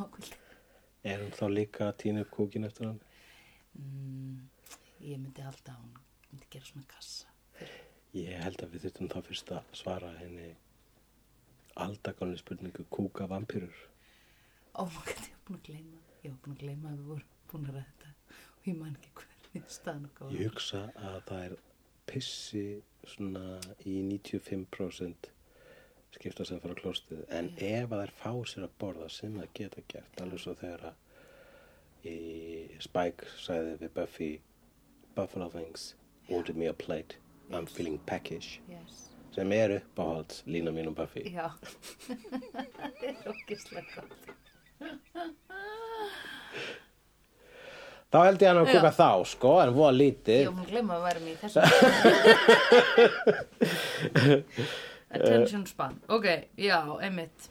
[SPEAKER 2] ákvöld
[SPEAKER 1] er hún þá líka að týna upp kúkin eftir hann
[SPEAKER 2] mm, ég myndi halda að hún myndi gera svona kassa
[SPEAKER 1] ég held að við þurftum þá fyrst að svara henni aldagáni spurningu kúka vampýrur
[SPEAKER 2] Ó, maður gæti, ég var búin að gleyma Ég var búin að gleyma að við vorum búin að ræða þetta og ég man ekki hvernig staðan okkar
[SPEAKER 1] Ég
[SPEAKER 2] var
[SPEAKER 1] hugsa að það er pissi svona í 95% skipta sem fara á klóstið en ef að þær fá sér að borða sem það geta gert alveg svo þegar að í Spike sagði við Buffy Buffalo Wings order me a plate I'm feeling peckish
[SPEAKER 2] yes.
[SPEAKER 1] sem er uppáhalds lína mín og Buffy
[SPEAKER 2] Já <laughs> Það er okkislega gott
[SPEAKER 1] þá held ég hann að kuka
[SPEAKER 2] Já.
[SPEAKER 1] þá sko en voða
[SPEAKER 2] Ég
[SPEAKER 1] lítið
[SPEAKER 2] var búin að gleyma að vera mér í þessu
[SPEAKER 1] <laughs>
[SPEAKER 2] <laughs> Attention span Ok, já, einmitt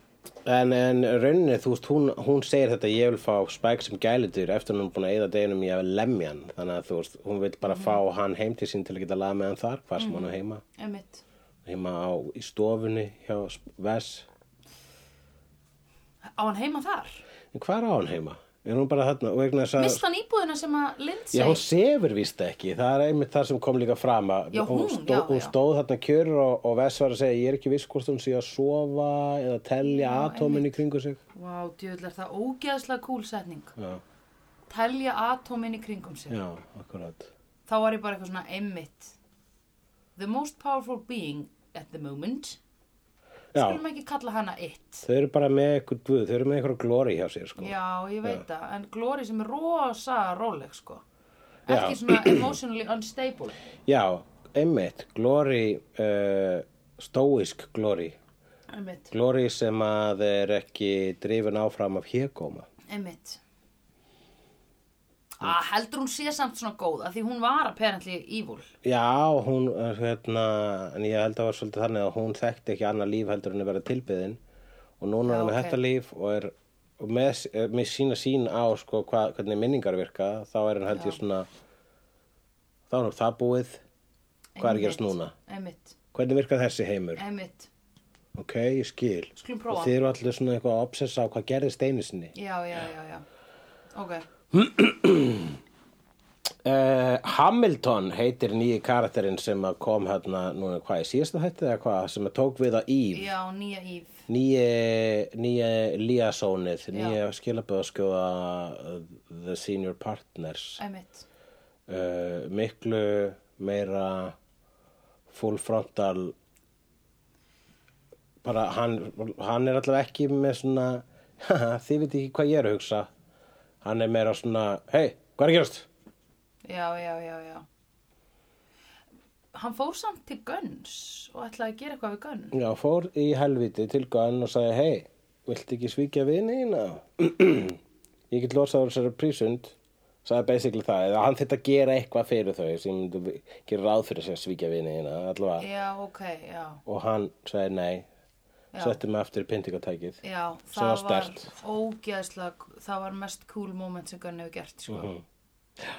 [SPEAKER 1] En, en rauninni, þú veist, hún, hún segir þetta ég vil fá Spike sem gælutur eftir hún er búin að eyða deginum í að lemja hann þannig að þú veist, hún vil bara fá hann heim til sín til að geta laga með hann þar, hvað sem hann á heima
[SPEAKER 2] Einmitt
[SPEAKER 1] heima á, í stofunni hjá Sp- Vess
[SPEAKER 2] Á hann heima þar?
[SPEAKER 1] en hvað er á hann heima? Er hún bara þarna og vegna þess
[SPEAKER 2] Mist
[SPEAKER 1] að
[SPEAKER 2] hann íbúðina sem að Lindsay
[SPEAKER 1] Já, hún sefur víst ekki, það er einmitt þar sem kom líka fram að
[SPEAKER 2] Já, hún,
[SPEAKER 1] stó,
[SPEAKER 2] já,
[SPEAKER 1] hún
[SPEAKER 2] já.
[SPEAKER 1] stóð þarna kjörur og, og Vess var að segja ég er ekki viss hvort hún sé að sofa eða telja atómin í kringu sig
[SPEAKER 2] Vá, djöðl er það ógeðslega kúlsetning
[SPEAKER 1] Já,
[SPEAKER 2] Telja atómin í kringum sig
[SPEAKER 1] já, akkurat
[SPEAKER 2] þá var ég bara eitthvað svona einmitt the most powerful being at the moment
[SPEAKER 1] Já,
[SPEAKER 2] skulum ekki kalla hana it
[SPEAKER 1] Þau eru bara með eitthvað guð, þau eru með eitthvað glóri hjá sér sko.
[SPEAKER 2] já, ég veit það, en Glory sem er rosa róleg sko
[SPEAKER 1] Já.
[SPEAKER 2] ekki svona emotionally unstable
[SPEAKER 1] Já, einmitt, glóri, uh, stóisk glóri.
[SPEAKER 2] einmitt,
[SPEAKER 1] Glóri sem að er ekki drifin áfram af hégóma.
[SPEAKER 2] einmitt ah, heldur hún sé samt svona góð af því hún var apparently evil
[SPEAKER 1] Já, hún, eh, hérna, en ég held að það var svolítið þannig að hún þekkti ekki annað líf heldur en að vera tilbyðin og núna er
[SPEAKER 2] Já,
[SPEAKER 1] hún
[SPEAKER 2] ok.
[SPEAKER 1] með þetta líf og er og með, s- eh, með sína sín á sko, hva, hvernig minningar virka, þá er hann held ég svona, þá er hún það búið, hvað er að gerast
[SPEAKER 2] Einmitt.
[SPEAKER 1] núna?
[SPEAKER 2] einmitt,
[SPEAKER 1] Hvernig virka þessi heimur?
[SPEAKER 2] einmitt,
[SPEAKER 1] Ok, ég skil.
[SPEAKER 2] Skulum
[SPEAKER 1] Og
[SPEAKER 2] prófa.
[SPEAKER 1] þið eru allir svona eitthvað að obsessa á hvað gerðist einu sinni.
[SPEAKER 2] já, já, já, já ok,
[SPEAKER 1] Uh, Hamilton heitir nýji karakterinn sem að kom hérna, núna hvað, í síðasta hætti eða hvað, sem að tók við á Ív.
[SPEAKER 2] já, nýja Eve
[SPEAKER 1] Nýje, nýje líasónið, nýje
[SPEAKER 2] Já.
[SPEAKER 1] skilaböðaskjóða uh, The Senior Partners.
[SPEAKER 2] einmitt,
[SPEAKER 1] Uh, miklu meira full frontal bara hann, hann er allavega ekki með svona <laughs> haha, þið veit ekki hvað ég er að hugsa hann er meira svona hei, hvað er að gerast?
[SPEAKER 2] Já, já, já, já. Hann fór samt til Guns og ætlaði að gera eitthvað við Guns.
[SPEAKER 1] Já, fór í helviti til Gunn og sagði hei, viltu ekki svíkja vinina? <clears throat> ég get losaður þessari prísund sagði basically það, eða hann þyrfti að gera eitthvað fyrir þau sem myndu gera ráð fyrir sér að svíkja vinina allavega
[SPEAKER 2] Já, ok, já.
[SPEAKER 1] og hann sagði nei
[SPEAKER 2] Já.
[SPEAKER 1] setti mig aftur í pyntingatækið
[SPEAKER 2] Já,
[SPEAKER 1] Sem
[SPEAKER 2] það
[SPEAKER 1] var
[SPEAKER 2] var
[SPEAKER 1] sterkt.
[SPEAKER 2] ógeðslega, það var mest cool moment sem Gunn hefur gert, sko.
[SPEAKER 1] Mhm.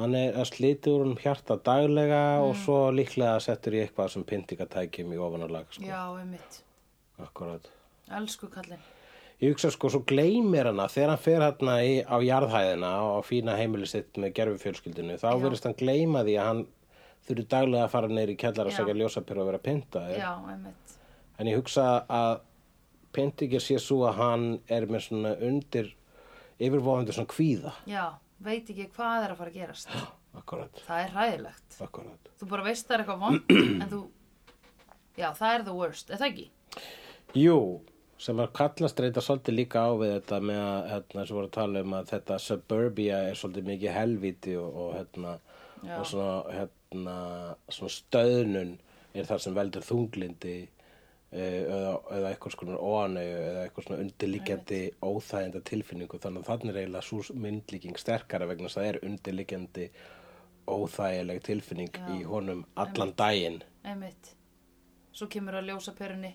[SPEAKER 1] hann er að slíti úr um hjarta daglega og
[SPEAKER 2] Mm.
[SPEAKER 1] svo líklega settur í eitthvað sem pyntingatækjum í ofanálag sko.
[SPEAKER 2] Já, einmitt.
[SPEAKER 1] akkurat
[SPEAKER 2] Elsku kallinn.
[SPEAKER 1] ég hugsa sko, svo gleymir hana þegar hann fer hérna í, á jarðhæðina og á fína heimili sitt með gerfi fjölskyldinu þá
[SPEAKER 2] Já.
[SPEAKER 1] verðist hann gleyma því að hann þurfi daglega að fara neyri kjallar að
[SPEAKER 2] Já.
[SPEAKER 1] segja ljósapyr og vera pyntaði
[SPEAKER 2] já, einmitt
[SPEAKER 1] en ég hugsa að pyntingir sé svo að hann er með svona undir yfirvofandi svona kvíða
[SPEAKER 2] já, veit ekki hvað er að fara að gerast
[SPEAKER 1] akkurat,
[SPEAKER 2] það er ræðilegt
[SPEAKER 1] akkurat
[SPEAKER 2] þú bara veist það er eitthvað vond en þú, já, það er the worst er það ekki?
[SPEAKER 1] Jú, sem að kallast reynda svolítið líka á við þetta með að hérna, sem voru að tala um að þetta suburbia er svolítið mikið helvíti og, og hérna
[SPEAKER 2] Já.
[SPEAKER 1] og svona, hérna, svona stöðnun er það sem veldur þunglindi eh, eða, eða eitthvað skonar óanau eða eitthvað svona undirliggjandi óþæginda tilfinningu þannig að þannig er eiginlega svo myndlíking sterkara vegna þess að það er undirliggjandi óþægileg tilfinning í honum allan daginn
[SPEAKER 2] einmitt svo kemur að ljósa perunni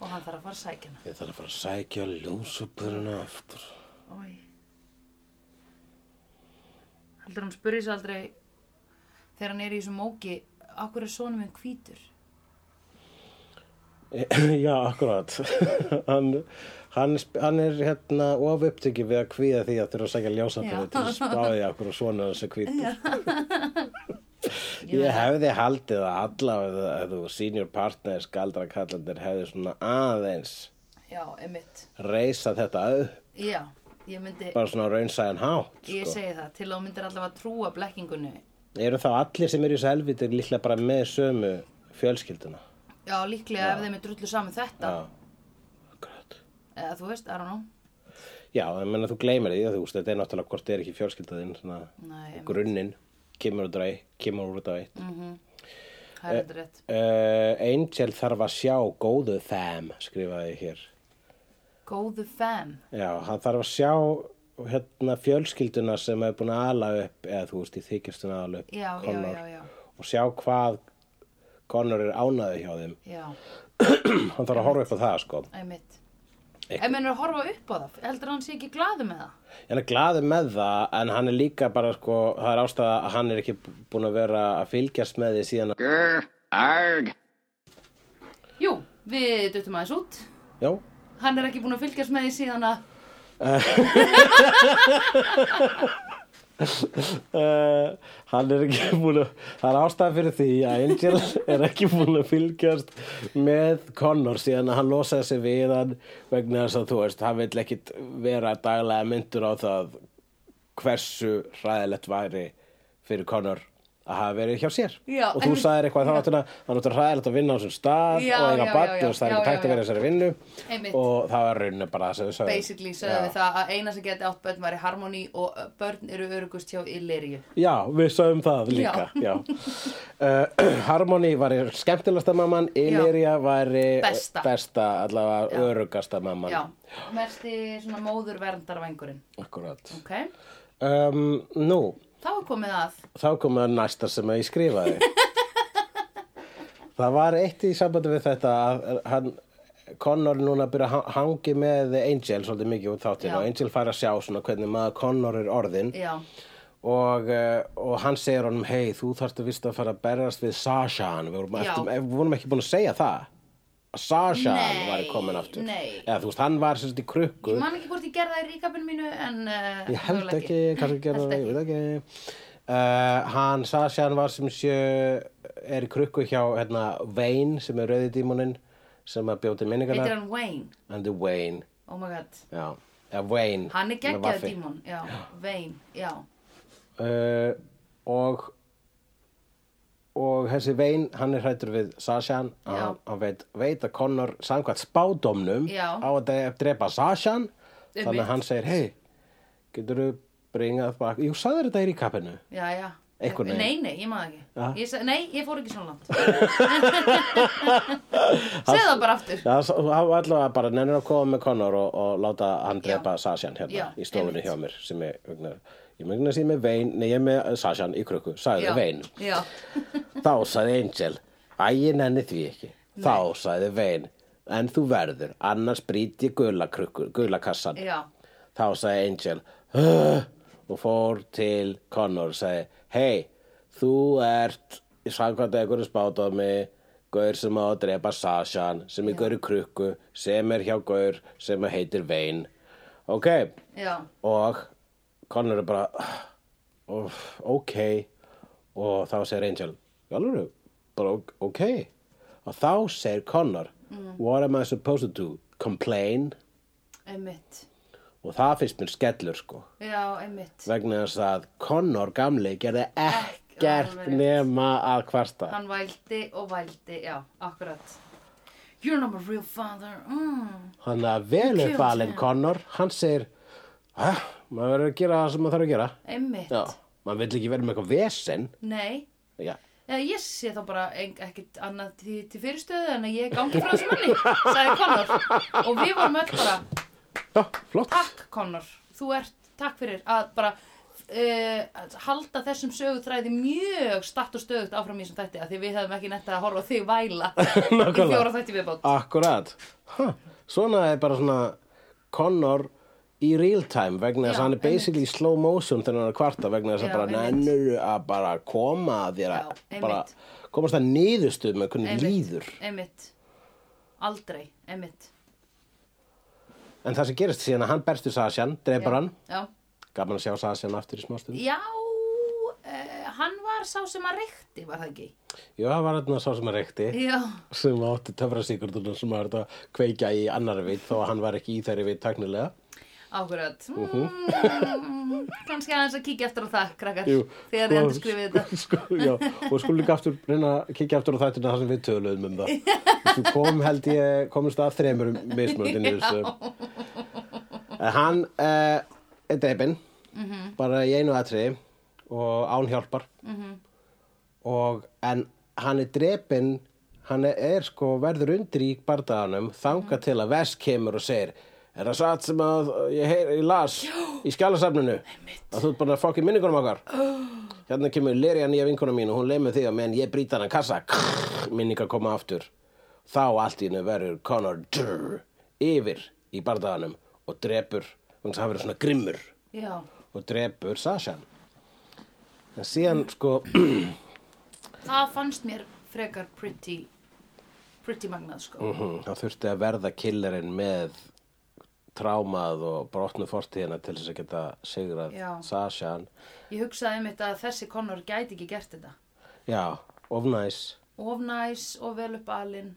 [SPEAKER 2] og hann þarf að fara að sækja hana
[SPEAKER 1] ég þarf að fara að sækja ljósupuruna aftur
[SPEAKER 2] Ói. heldur hann spurði sér aldrei þegar hann er í þessu móki akkur er sonum minn hvítur
[SPEAKER 1] <laughs> Já, akkurat <laughs> hann, hann, hann er hérna of upptöki við að kvíða því að þurfa að segja ljósapöðu
[SPEAKER 2] Já.
[SPEAKER 1] til að spáði akkur og svona þessu kvítur
[SPEAKER 2] Ég
[SPEAKER 1] <laughs> Ég
[SPEAKER 2] veit
[SPEAKER 1] hefði haldið að allavega að þú senior partner skaldra kallandir hefði svona aðeins
[SPEAKER 2] já, einmitt
[SPEAKER 1] reysa þetta upp
[SPEAKER 2] já, ég myndi,
[SPEAKER 1] bara svona á raunsæðan hátt
[SPEAKER 2] ég
[SPEAKER 1] sko.
[SPEAKER 2] segi það til að þú myndir allavega trúa blekkingunni
[SPEAKER 1] Eru þá allir sem eru í þessu helvítur líklega bara með sömu fjölskylduna
[SPEAKER 2] já, líklega ef þeim er drullu saman þetta
[SPEAKER 1] Já, akkurat
[SPEAKER 2] eða þú veist, I don't know
[SPEAKER 1] Já, ég meina þú gleymir því að þú veist, þetta er náttúrulega hvort þetta er ekki fjölskyldaðinn, svona
[SPEAKER 2] Nei, einmitt.
[SPEAKER 1] grunninn, kemur út ræ, kemur út ræ. Mm.
[SPEAKER 2] það
[SPEAKER 1] Eh.
[SPEAKER 2] er þetta rétt
[SPEAKER 1] Angel þarf að sjá góðu fam, skrifaði ég hér.
[SPEAKER 2] góðu fan
[SPEAKER 1] Já, hann þarf að sjá hérna fjölskylduna sem er búin að ala upp, eða þú veist, í þykjastuna ala upp,
[SPEAKER 2] já, já,
[SPEAKER 1] Connor,
[SPEAKER 2] já, já,
[SPEAKER 1] og sjá hvað Connor er ánaði hjá þeim. <clears throat>
[SPEAKER 2] já,
[SPEAKER 1] Hann þarf að horfa upp á það, sko.
[SPEAKER 2] einmitt
[SPEAKER 1] Eitthvað-
[SPEAKER 2] ef mennur að horfa upp á það heldur hann sé ekki glaðu með það
[SPEAKER 1] En hann er glaði með það, en hann er líka bara, sko, það er ástæða að hann er ekki búin að vera að fylgjast með því síðan að...
[SPEAKER 2] jú, við duttum aðeins út
[SPEAKER 1] Já,
[SPEAKER 2] hann er ekki búin að fylgjast með því síðan að
[SPEAKER 1] Uh, hann er ekki búin að það er ástæða fyrir því að Angel er ekki búin að fylgjast með Connor síðan að hann losaði sig við hann vegna þess að þú veist hann vill ekkit vera daglega myndur á það hversu hræðilegt væri fyrir Connor að hafa verið hjá sér
[SPEAKER 2] Já,
[SPEAKER 1] og þú
[SPEAKER 2] einmitt.
[SPEAKER 1] sagðir eitthvað þá náttúrulega það er náttúrulega hræðilegt að vinna á þessum stað
[SPEAKER 2] Já,
[SPEAKER 1] og eiga
[SPEAKER 2] já, já,
[SPEAKER 1] barn
[SPEAKER 2] já,
[SPEAKER 1] og það er
[SPEAKER 2] já,
[SPEAKER 1] ekki
[SPEAKER 2] já,
[SPEAKER 1] tækt að vera í
[SPEAKER 2] já.
[SPEAKER 1] þessari vinnu
[SPEAKER 2] Einmitt.
[SPEAKER 1] og það var rauninu bara að segja
[SPEAKER 2] basically sögðum við það að eina sem geti átt börn væri harmoni og ö, börn eru örugust hjá illirju
[SPEAKER 1] Já, við sögum það líka já. Uh, <clears throat> Harmony var skemmtilegasta mamman Illyria var eh,
[SPEAKER 2] Besta.
[SPEAKER 1] besta allavega
[SPEAKER 2] Já.
[SPEAKER 1] örugasta mamman
[SPEAKER 2] já, mesti svona móður verndarvængurinn
[SPEAKER 1] Akkúrat.
[SPEAKER 2] ok,
[SPEAKER 1] um, Nú,
[SPEAKER 2] þá er komið að
[SPEAKER 1] þá komum við næsta sem ég skrifaði Það var eitt í sambandi við þetta að hann Connor er núna að byrja að ha- hangi með Angel svolítið mikið út þáttinn
[SPEAKER 2] Já.
[SPEAKER 1] og Angel fær að sjá svona hvernig maður Connor er orðinn
[SPEAKER 2] já,
[SPEAKER 1] og, eh, og hann segir honum hei, þú þarfst að vist að fara að berjast við Sashan, við vorum,
[SPEAKER 2] Já.
[SPEAKER 1] eftir, eh, við vorum ekki búin að segja það að Sashan
[SPEAKER 2] Nei,
[SPEAKER 1] var komin aftur
[SPEAKER 2] nei.
[SPEAKER 1] eða þú veist, hann var sérst í krukku
[SPEAKER 2] ég man ekki hvort ég gerði það í ríkapinu mínu en uh,
[SPEAKER 1] ég held ekki, kannski gerði
[SPEAKER 2] Held
[SPEAKER 1] það, ég veit ekki Uh, hann Sashan var sem sjö er í krukku hjá hérna, Vane sem er rauði dímoninn sem að bjóti
[SPEAKER 2] heitir
[SPEAKER 1] minningarnar
[SPEAKER 2] hann Wayne,
[SPEAKER 1] and the Wayne
[SPEAKER 2] oh my god
[SPEAKER 1] já, ja, Wayne
[SPEAKER 2] hann er
[SPEAKER 1] með
[SPEAKER 2] geggjaður
[SPEAKER 1] vaffi.
[SPEAKER 2] dímon já, Wayne, já,
[SPEAKER 1] uh, og og þessi Vein, hann er hrættur við Sashan að
[SPEAKER 2] Já.
[SPEAKER 1] hann, hann veit, veit að Connor samkvæmt spádómnum
[SPEAKER 2] Já.
[SPEAKER 1] á að de- drepa Sashan
[SPEAKER 2] Einmitt.
[SPEAKER 1] þannig að hann segir, hei, getur þú bringað bak, jú, sagður þetta er í kappinu
[SPEAKER 2] já, já
[SPEAKER 1] Einhvern veginn.
[SPEAKER 2] nei, nei, ég maður
[SPEAKER 1] Ja.
[SPEAKER 2] ekki ég, sa- nei, ég fór ekki svona
[SPEAKER 1] <laughs>
[SPEAKER 2] langt segð það bara aftur
[SPEAKER 1] það var allavega bara nennir að koma með Connor og, og láta hann drepa Sashan hérna
[SPEAKER 2] Já,
[SPEAKER 1] í stofunni
[SPEAKER 2] einmitt.
[SPEAKER 1] hjá mér sem ég, vegna, ég mögna sér með Vein, nei, ég er með Sashan í krukku, sagði
[SPEAKER 2] já,
[SPEAKER 1] Vein
[SPEAKER 2] já,
[SPEAKER 1] Þá sagði Angel, æ, ég nenni því ekki. Þá sagði Vein, en þú verður, annars brýt ég gula, krukku, gula kassan.
[SPEAKER 2] já,
[SPEAKER 1] Þá sagði Angel, "Ugh," og fór til Connor og sagði, hei, þú ert, samkvæmt einhverju spátómi, Gaur sem á að drepa Sashan sem er gaur í krukku sem er hjá gaur sem heitir Vein ok
[SPEAKER 2] já,
[SPEAKER 1] og Connor er bara "Ah, óf, ok og þá segir Angel alveg, bara ok- ok og þá segir Connor
[SPEAKER 2] Mm.
[SPEAKER 1] what am I supposed to do, complain
[SPEAKER 2] einmitt
[SPEAKER 1] og það finnst mér skellur sko
[SPEAKER 2] já, einmitt
[SPEAKER 1] vegna þess að Connor gamli gerði
[SPEAKER 2] alveg
[SPEAKER 1] ekkert
[SPEAKER 2] rétt.
[SPEAKER 1] nema að kvarta
[SPEAKER 2] hann vældi og vældi, já, akkurat you're not my real father mm.
[SPEAKER 1] hann að velufalinn Connor hann segir "Ah, maður verður að gera það sem maður þarf að gera
[SPEAKER 2] einmitt
[SPEAKER 1] já, maður vill ekki vera með eitthvað vesen
[SPEAKER 2] nei,
[SPEAKER 1] já,
[SPEAKER 2] Eða ég sé þá bara ein- ekkert annað til, til fyrirstöðu en að ég gangi frá þessum manni, sagði Connor og við vorum öll bara,
[SPEAKER 1] já flott
[SPEAKER 2] takk Connor þú ert, takk fyrir að bara uh, halda þessum sögutræði mjög statt og stöðugt áfram í þessum þætti af því við hefðum ekki netta að horfa á þig
[SPEAKER 1] <laughs>
[SPEAKER 2] væla í
[SPEAKER 1] Nákvæmlega.
[SPEAKER 2] fjóra þætti viðbót
[SPEAKER 1] akkurat huh. svona er bara svona Connor í real time vegna þess
[SPEAKER 2] Já,
[SPEAKER 1] að hann er basically í slow motion þegar hann er að kvarta vegna þess
[SPEAKER 2] Já,
[SPEAKER 1] að bara
[SPEAKER 2] einmitt.
[SPEAKER 1] nennur að bara koma að þér að
[SPEAKER 2] Já,
[SPEAKER 1] bara
[SPEAKER 2] einmitt.
[SPEAKER 1] komast það niðurstuð með hvernig
[SPEAKER 2] Einmitt,
[SPEAKER 1] líður
[SPEAKER 2] einmitt, aldrei, einmitt
[SPEAKER 1] En það sem gerist síðan að hann berstu Sasjan, dreipar hann.
[SPEAKER 2] já,
[SPEAKER 1] Gaman að sjá Sasjan aftur í smástund.
[SPEAKER 2] já uh, hann var sá sem að reykti var það ekki
[SPEAKER 1] Jú, það var þarna sá sem að reykti,
[SPEAKER 2] já,
[SPEAKER 1] sem átti töfrasíkurdunum sem var þetta að kveikja í annari vit, þó að hann var ekki í þeirri vit taknilega.
[SPEAKER 2] Ákvörðat. Mm, kannski aðeins að kíkja eftir á það, krakkar.
[SPEAKER 1] Jú,
[SPEAKER 2] þegar þið endur skrifið þetta.
[SPEAKER 1] <laughs> Sko, já, og skulum líka aftur reyna að kíkja aftur á þættina það sem við töluðum um það. Þú kom held ég, komist að þremur
[SPEAKER 2] <laughs>
[SPEAKER 1] mismöndinu þessu. En Eh, hann uh, er dreipin,
[SPEAKER 2] Mhm.
[SPEAKER 1] bara í einu atriði og án hjálpar. og en hann er drepinn hann er, er sko verður undir í bardaðanum þanga
[SPEAKER 2] Mhm.
[SPEAKER 1] til að Vest kemur og segir er það satt sem að eh, ég, heyr, ég las í skjálasafninu að þú ert bara að fokki minningunum okkar hérna kemur Lerja nýja vinkona mín og hún leið með því að menn ég brýta hann að kassa Krrr, minningar koma aftur þá allt í hennu verður Connor drr, yfir í bardaðanum og drepur, þannig að hann verður svona grimmur
[SPEAKER 2] Já,
[SPEAKER 1] og drepur Sashan en síðan sko <clears throat>
[SPEAKER 2] það fannst mér frekar pretty, pretty magnað, sko.
[SPEAKER 1] Mhm, Það þurfti að verða killerinn með trámað og brotnu fortíðina til þess að geta sigrað
[SPEAKER 2] Já.
[SPEAKER 1] Sashan.
[SPEAKER 2] Ég hugsaði einmitt að þessi Connor gæti ekki gert þetta.
[SPEAKER 1] Já, of næs.
[SPEAKER 2] Of næs og vel upp alinn.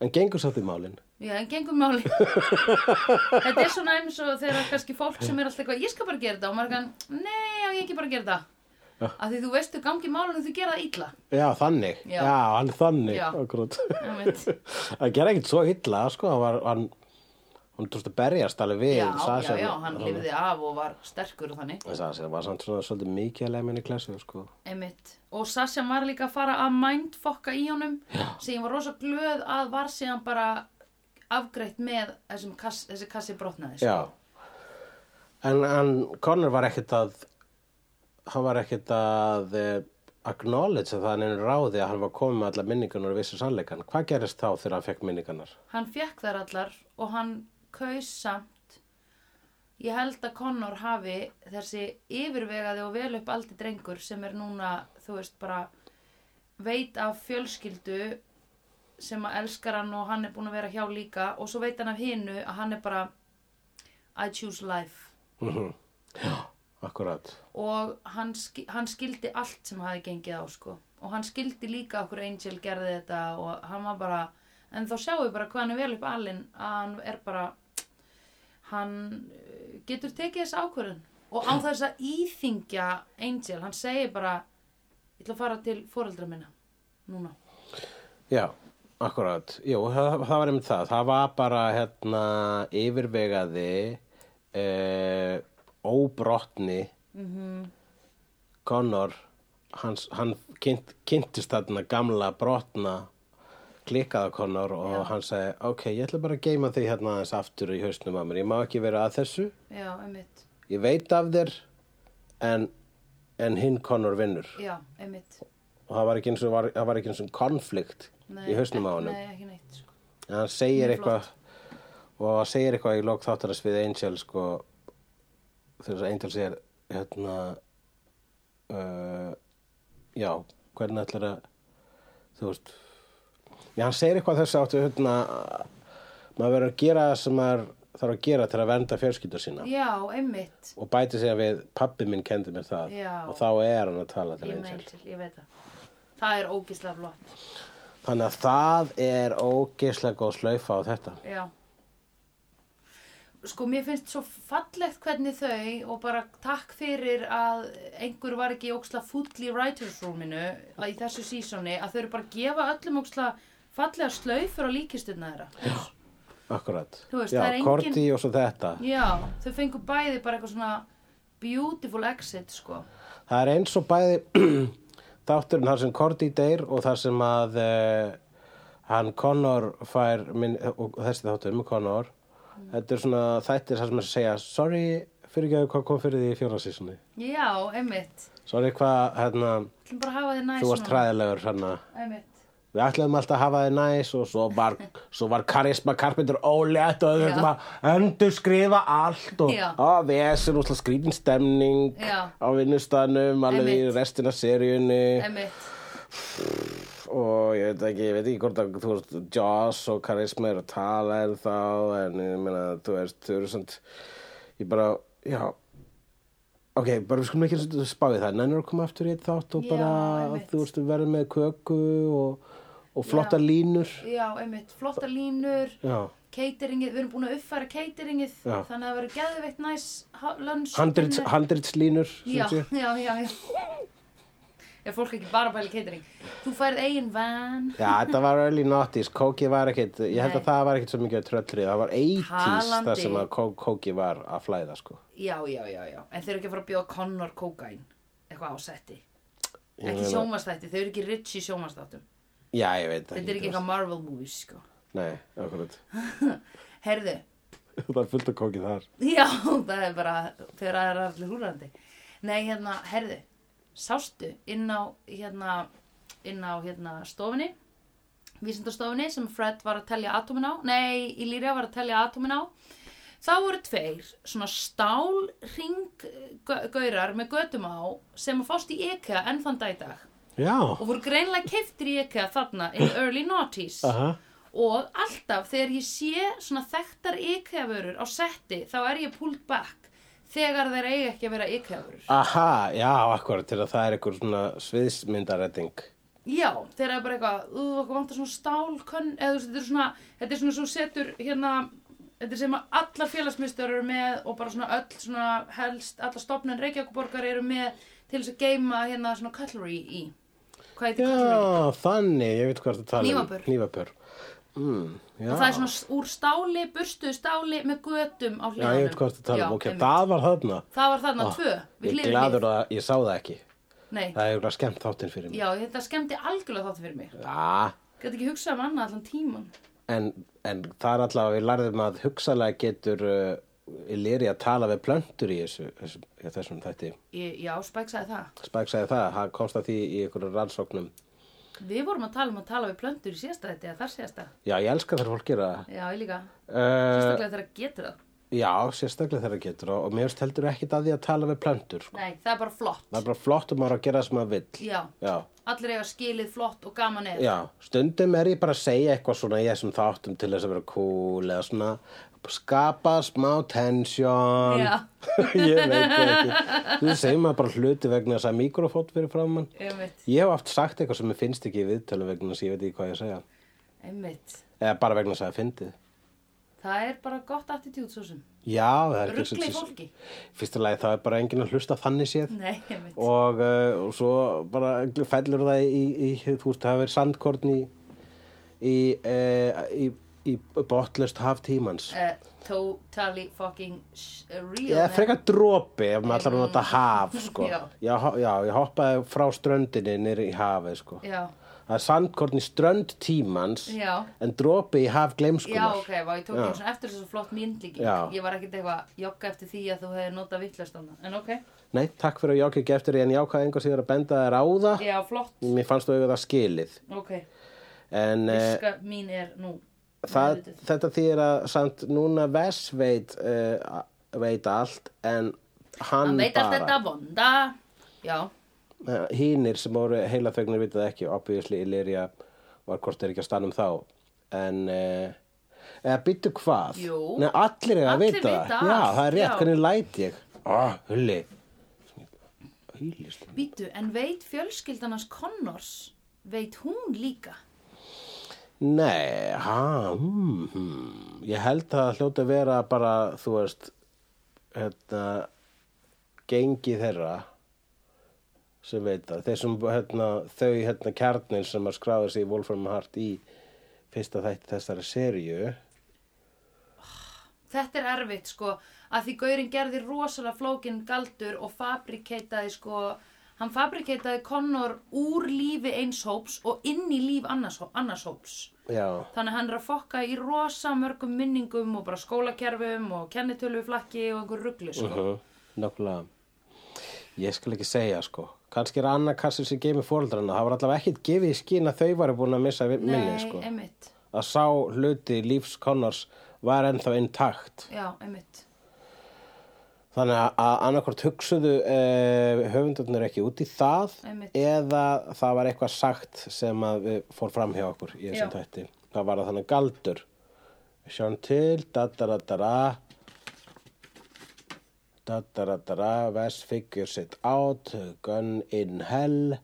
[SPEAKER 1] En gengur sátt í málinn.
[SPEAKER 2] Já, en gengum máli. þetta er svona eins og þegar kannski fólk sem er alltaf eitthvað, ég skal bara gera þetta og maður er kann, nei, á ég ekki bara að gera þetta. Af því þú veistu gangi málinu þú gera það illa.
[SPEAKER 1] Já, þannig.
[SPEAKER 2] Já.
[SPEAKER 1] hann er þannig.
[SPEAKER 2] Já.
[SPEAKER 1] Akkurat.
[SPEAKER 2] <laughs> Einmitt.
[SPEAKER 1] Það gerði ekkert svo illa, sko. Hann var, hann, hann tókst að berjast alveg við
[SPEAKER 2] Já, já,
[SPEAKER 1] Sashan.
[SPEAKER 2] já, hann lifði af og var sterkur og þannig.
[SPEAKER 1] Sashan var samt svona svolítið mikið að leið minni klessu, sko.
[SPEAKER 2] Einmitt. Og Sasha var líka að fara að mindfokka í honum sem ég var rosa glöð að var síðan bara afgreitt með þessum kass, þessi kassi brotnaði. sko.
[SPEAKER 1] Já. En, en Connor var ekkert að hann var ekkert að eh, acknowledge að það er ráði að hann var komið með allar minningunar og vissi sannleikan. Hvað gerist þá þegar hann fekk minningunar?
[SPEAKER 2] Hann fekk þær allar og hann kaus samt. Ég held að Connor hafi þessi yfirvegaði og vel upp aldi drengur sem er núna, þú veist, bara veit af fjölskyldu sem að elskar hann og hann er búin að vera hjá líka og svo veit hann af hinu að hann er bara I choose life.
[SPEAKER 1] Akkurat.
[SPEAKER 2] og hann, ski- hann skildi allt sem hafi gengið á sko og hann skildi líka okkur Angel gerði þetta og hann var bara en þá sjáum við bara hvað hann er vel upp alinn að hann er bara hann eh, getur tekið þess ákvörðun og á þess að íþingja Angel, hann segir bara ég ætla að fara til foreldra minna núna,
[SPEAKER 1] Já, akkurat. Jú, það, það var einmitt það. Það var bara hérna yfirvegaði eh, óbrotni Connor hans, hann kynnt, kynntist þarna gamla brotna klikkaða Connor og hann sagði ok, ég ætla bara að geyma þig hérna aðeins aftur í hausnum að mér. Ég má ekki vera að þessu.
[SPEAKER 2] já, einmitt
[SPEAKER 1] Ég veit af þér en, en hinn Connor vinnur.
[SPEAKER 2] já, einmitt,
[SPEAKER 1] Og það var ekki eins og, var, það var ekki eins og konflikt í hausnum á
[SPEAKER 2] ekki-
[SPEAKER 1] honum.
[SPEAKER 2] nei, ekki neitt sko.
[SPEAKER 1] En hann segir
[SPEAKER 2] Mjög flott.
[SPEAKER 1] eitthvað og hann segir eitthvað í lók þáttarins við Angel sko þegar þess að Angel segir hérna uh, já, hvernig ætlar að þú veist Já, hann segir eitthvað þess að hérna, maður verður að gera það sem maður þarf að gera til að vernda fjölskyldur sína
[SPEAKER 2] já, einmitt
[SPEAKER 1] og bæti sig að við pappi minn kendi mér það
[SPEAKER 2] Já.
[SPEAKER 1] og þá er hann að tala til
[SPEAKER 2] ég
[SPEAKER 1] Angel.
[SPEAKER 2] meint, ég veit það það er ógislega flott
[SPEAKER 1] Þannig að það er ógeislega góð slaufa á þetta.
[SPEAKER 2] já sko mér finnst svo fallegt hvernig þau og bara takk fyrir að einhver var ekki óksla fúll í writers roominu að í þessu sísoni að þau eru bara að gefa öllum óksla fallega slaufur á líkistunna þeirra já.
[SPEAKER 1] Akkurat.
[SPEAKER 2] Þú veist,
[SPEAKER 1] Já,
[SPEAKER 2] það er engin-
[SPEAKER 1] Korti og svo þetta.
[SPEAKER 2] þau fengu bæði bara eitthvað svona beautiful exit sko
[SPEAKER 1] Það er eins og bæði <clears throat> þátturinn þar sem Korti deyr og þar sem að uh, hann Connor fær minn, og þessi þáttur með Connor þetta er svona þættir þar sem að segja sorry fyrir ekki að hvað kom fyrir því í fjórnarsísunni
[SPEAKER 2] já, einmitt
[SPEAKER 1] sorry hvað hérna,
[SPEAKER 2] ætlum bara að hafa þið næs
[SPEAKER 1] þú varst træðilegur hérna.
[SPEAKER 2] træð
[SPEAKER 1] við ætlaðum alltaf að hafa þið næs og svo var, svo var Karisma Carpenter ólétt og við höfum að endur skrifa allt og
[SPEAKER 2] Já.
[SPEAKER 1] að vesur og skrítin stemning
[SPEAKER 2] Já.
[SPEAKER 1] á vinnustanum alveg í
[SPEAKER 2] Einmitt.
[SPEAKER 1] restina seríunni
[SPEAKER 2] einmitt
[SPEAKER 1] og ég veit ekki, ég veit ekki hvort að þú veist, Joss og Karisma eru að tala en þá, en ég meina þú veist, þau eru samt ég bara, já ok, bara við skulum ekki spáði það nennir að koma aftur í eitt þátt og
[SPEAKER 2] Já,
[SPEAKER 1] bara
[SPEAKER 2] einmitt.
[SPEAKER 1] þú veist, verður með köku og, og flotta
[SPEAKER 2] Já.
[SPEAKER 1] línur
[SPEAKER 2] já, einmitt, flotta línur
[SPEAKER 1] já,
[SPEAKER 2] cateringið, við erum búin að uppfæra cateringið
[SPEAKER 1] Já.
[SPEAKER 2] þannig að það verður geðveitt næs ha- lunch
[SPEAKER 1] handrits,
[SPEAKER 2] dinner.
[SPEAKER 1] handrits línur
[SPEAKER 2] já, já, já, já Ef fólk ekki bara bæli catering Þú færð eigin van
[SPEAKER 1] já, þetta var early noughties, kóki var ekkit ég held
[SPEAKER 2] Nei.
[SPEAKER 1] að það var ekkit svo mikið tröllrið, það var 80s
[SPEAKER 2] Talandi.
[SPEAKER 1] það sem að kó- kóki var að flæða sko
[SPEAKER 2] Já, já, já, já En þeir eru ekki að fara að bjóða Connor kókain Eitthvað á setti
[SPEAKER 1] Ég
[SPEAKER 2] Ekki
[SPEAKER 1] meina-
[SPEAKER 2] sjómastætti, þau eru ekki rich í sjómastáttum
[SPEAKER 1] já, ég veit það
[SPEAKER 2] Þetta er ekki eitthvað Marvel movies, sko
[SPEAKER 1] Nei, akkurat.
[SPEAKER 2] Herðu,
[SPEAKER 1] <laughs> það er fullt að kókið þar.
[SPEAKER 2] <laughs> já, það er bara Þegar það er allir húrandi Nei, hérna, herðu Sástu inn á, hérna Inn á, hérna, stofunni vísindastofunni sem Fred var að telja atómin á, nei, Illyria var að telja atómin á, þá voru tveir svona stál ringgaurar með götum á sem að fást í IKEA enn þann dag í dag
[SPEAKER 1] Já.
[SPEAKER 2] og voru greinlega keiftir í IKEA þarna in early noughties
[SPEAKER 1] Aha.
[SPEAKER 2] og alltaf þegar ég sé svona þekktar IKEA vörur á setti þá er ég pulled back þegar þeir eiga ekki að vera IKEA vörur.
[SPEAKER 1] Aha, já, akkurat, til að það er einhver svona sviðsmyndaretting.
[SPEAKER 2] Já, þeir eru bara eitthvað, þú, okkur vantar svona stálkönn, eða þú veist, þetta er svona, þetta er svona svo setur, hérna, þetta er sem að allar félagsmyndstöður eru með og bara svona öll svona helst, allar stopnun Reykjavíkuborgar eru með til þess að geima hérna svona cutlery í. Hvað heitir cutlery?
[SPEAKER 1] Já, þannig, ég veit hvað það tala um.
[SPEAKER 2] Hnífapör.
[SPEAKER 1] Nývapur. Mm, já.
[SPEAKER 2] Og það er svona s- úr stáli, burstuðu stáli með götum á
[SPEAKER 1] Já,
[SPEAKER 2] hliðanum.
[SPEAKER 1] ég veit hvað það tala um. Ok,
[SPEAKER 2] einmitt.
[SPEAKER 1] það var þarna.
[SPEAKER 2] Það var þarna
[SPEAKER 1] Ah,
[SPEAKER 2] tvö, við
[SPEAKER 1] Ég er
[SPEAKER 2] hliðum
[SPEAKER 1] gladur að ég sá það ekki.
[SPEAKER 2] Nei,
[SPEAKER 1] Það er eitthvað skemmt þáttinn fyrir mig.
[SPEAKER 2] já, þetta skemmdi algjörlega þátt fyrir mig.
[SPEAKER 1] Já.
[SPEAKER 2] Gæti ekki hugsað um annað allan tíman.
[SPEAKER 1] En, en það er alltaf að við lærðum að hugsalega getur uh, Ileri að tala við plöntur í þessu, þessu, þessum þætti.
[SPEAKER 2] Ég, já, spæksaði það.
[SPEAKER 1] Spæk sagði það, hann komst að því í einhverju rannsóknum.
[SPEAKER 2] Við vorum að tala um að tala við plöndur í síðasta þetta eða þar síðasta.
[SPEAKER 1] Já, ég elska þegar fólk gera það.
[SPEAKER 2] Já, ég líka.
[SPEAKER 1] Uh,
[SPEAKER 2] Sérstaklega þegar það getur það.
[SPEAKER 1] já, sérstaklega þegar það getur og, og mér finnst heldur ekkit að því að tala við plöntur. sko.
[SPEAKER 2] Nei, það er bara flott.
[SPEAKER 1] Það er bara flott um að gera það sem maður vill.
[SPEAKER 2] Já,
[SPEAKER 1] Já,
[SPEAKER 2] allir eiga skilið flott og gaman eða.
[SPEAKER 1] já, stundum er ég bara að segja eitthvað svona í þessum þáttum til þess að vera cool eða svona skapa smá tension.
[SPEAKER 2] Já.
[SPEAKER 1] <laughs> ég veit það ekki. Þú segir maður bara hluti vegna þess að mikrofót fyrir framann.
[SPEAKER 2] Einmitt,
[SPEAKER 1] Ég hef oft sagt eitthvað sem mér finnst ekki í viðtölu vegna þess að ég veit ekki hvað ég að segja.
[SPEAKER 2] einmitt.
[SPEAKER 1] Eða bara vegna þess að það er fyndið.
[SPEAKER 2] Það er bara gott attitút svo sem.
[SPEAKER 1] Já, það er ekki
[SPEAKER 2] Ruggli
[SPEAKER 1] sem-
[SPEAKER 2] fólki.
[SPEAKER 1] Fyrsta lagi það er bara enginn að hlusta þannig séð
[SPEAKER 2] Nei, einmitt.
[SPEAKER 1] og, uh, og svo bara fellur það í, í, í þú veist, það hefur sandkorn í í, uh, í, í botlust haf tímans
[SPEAKER 2] Uh, totally fucking sh- uh, real.
[SPEAKER 1] Ég er
[SPEAKER 2] man.
[SPEAKER 1] frekar dropi ef maður ætlar að nota haf sko.
[SPEAKER 2] Já.
[SPEAKER 1] já, ho- já, ég hoppaði frá ströndinni nýri í hafið sko.
[SPEAKER 2] Já,
[SPEAKER 1] Það er sandkorn í strönd tímans
[SPEAKER 2] Já.
[SPEAKER 1] en dropi í haf
[SPEAKER 2] já,
[SPEAKER 1] gleimskunar
[SPEAKER 2] ok, vá, ég tók
[SPEAKER 1] Já.
[SPEAKER 2] eins og eftir þessu flott myndlíking.
[SPEAKER 1] Já.
[SPEAKER 2] Ég var ekkert eitthvað að jogga eftir því að þú hefði notað vittlust annað. En ok,
[SPEAKER 1] Nei, takk fyrir að ég ekki eftir því, en ég ákvað einhver síður að benda þér á það
[SPEAKER 2] já, flott.
[SPEAKER 1] Mér fannst þú auðvitað skilið
[SPEAKER 2] Ok,
[SPEAKER 1] En uh,
[SPEAKER 2] viska mín er nú.
[SPEAKER 1] það,
[SPEAKER 2] meðvituð.
[SPEAKER 1] þetta þýðir að samt núna Vess veit, uh, veit allt en hann
[SPEAKER 2] Hann veit allt
[SPEAKER 1] bara,
[SPEAKER 2] þetta vonda. Já,
[SPEAKER 1] hínir sem voru heila þögnir vitað ekki, obviously Illyria var hvort þeir ekki á stannum þá en eh, eða byttu hvað
[SPEAKER 2] Jú.
[SPEAKER 1] Nei, allir eiga að
[SPEAKER 2] Allir
[SPEAKER 1] vita það.
[SPEAKER 2] vita allt,
[SPEAKER 1] já, það er rétt,
[SPEAKER 2] já.
[SPEAKER 1] hvernig læt ég ah, hulli Hullist.
[SPEAKER 2] Býtu, en veit fjölskyldan hans Connors, veit hún líka?
[SPEAKER 1] nei, ha hmm, hmm. ég held að það hljóti að vera bara, þú veist hérna gengi þeirra sem veit það, þeir sem hérna, þau hérna kjarnin sem að skráða sig í Wolfram Hart í fyrsta þætti þessari seríu
[SPEAKER 2] Þetta er erfitt sko að því Gaurin gerði rosalega flókin galdur og fabrikeitaði sko hann fabrikeitaði Connor úr lífi eins hóps og inn í líf annars, annars hóps
[SPEAKER 1] já,
[SPEAKER 2] þannig að hann er að fokka í rosa mörgum minningum og bara skólakerfum og kennitöluflakki og einhver ruggli sko
[SPEAKER 1] Nákvæmlega. Ég skal ekki segja sko. Kanski er Anna Kassi sem geimi fóreldrana. Það var allavega ekkit gefið í skín að þau varu búin að missa vi- minni
[SPEAKER 2] Nei,
[SPEAKER 1] sko.
[SPEAKER 2] einmitt
[SPEAKER 1] Að sá hluti lífs Connors var ennþá intakt.
[SPEAKER 2] Já, einmitt
[SPEAKER 1] Þannig að- að annarkvort hugsuðu eh, höfundarnir ekki út í það
[SPEAKER 2] Einmitt.
[SPEAKER 1] eða það var eitthvað sagt sem að við fór fram hjá okkur í
[SPEAKER 2] Já.
[SPEAKER 1] þessum tætti. Það var að þannig galdur. Sjón til, da-da-da-da-da, da-da-da-da-da, West figures it out, gun in hell,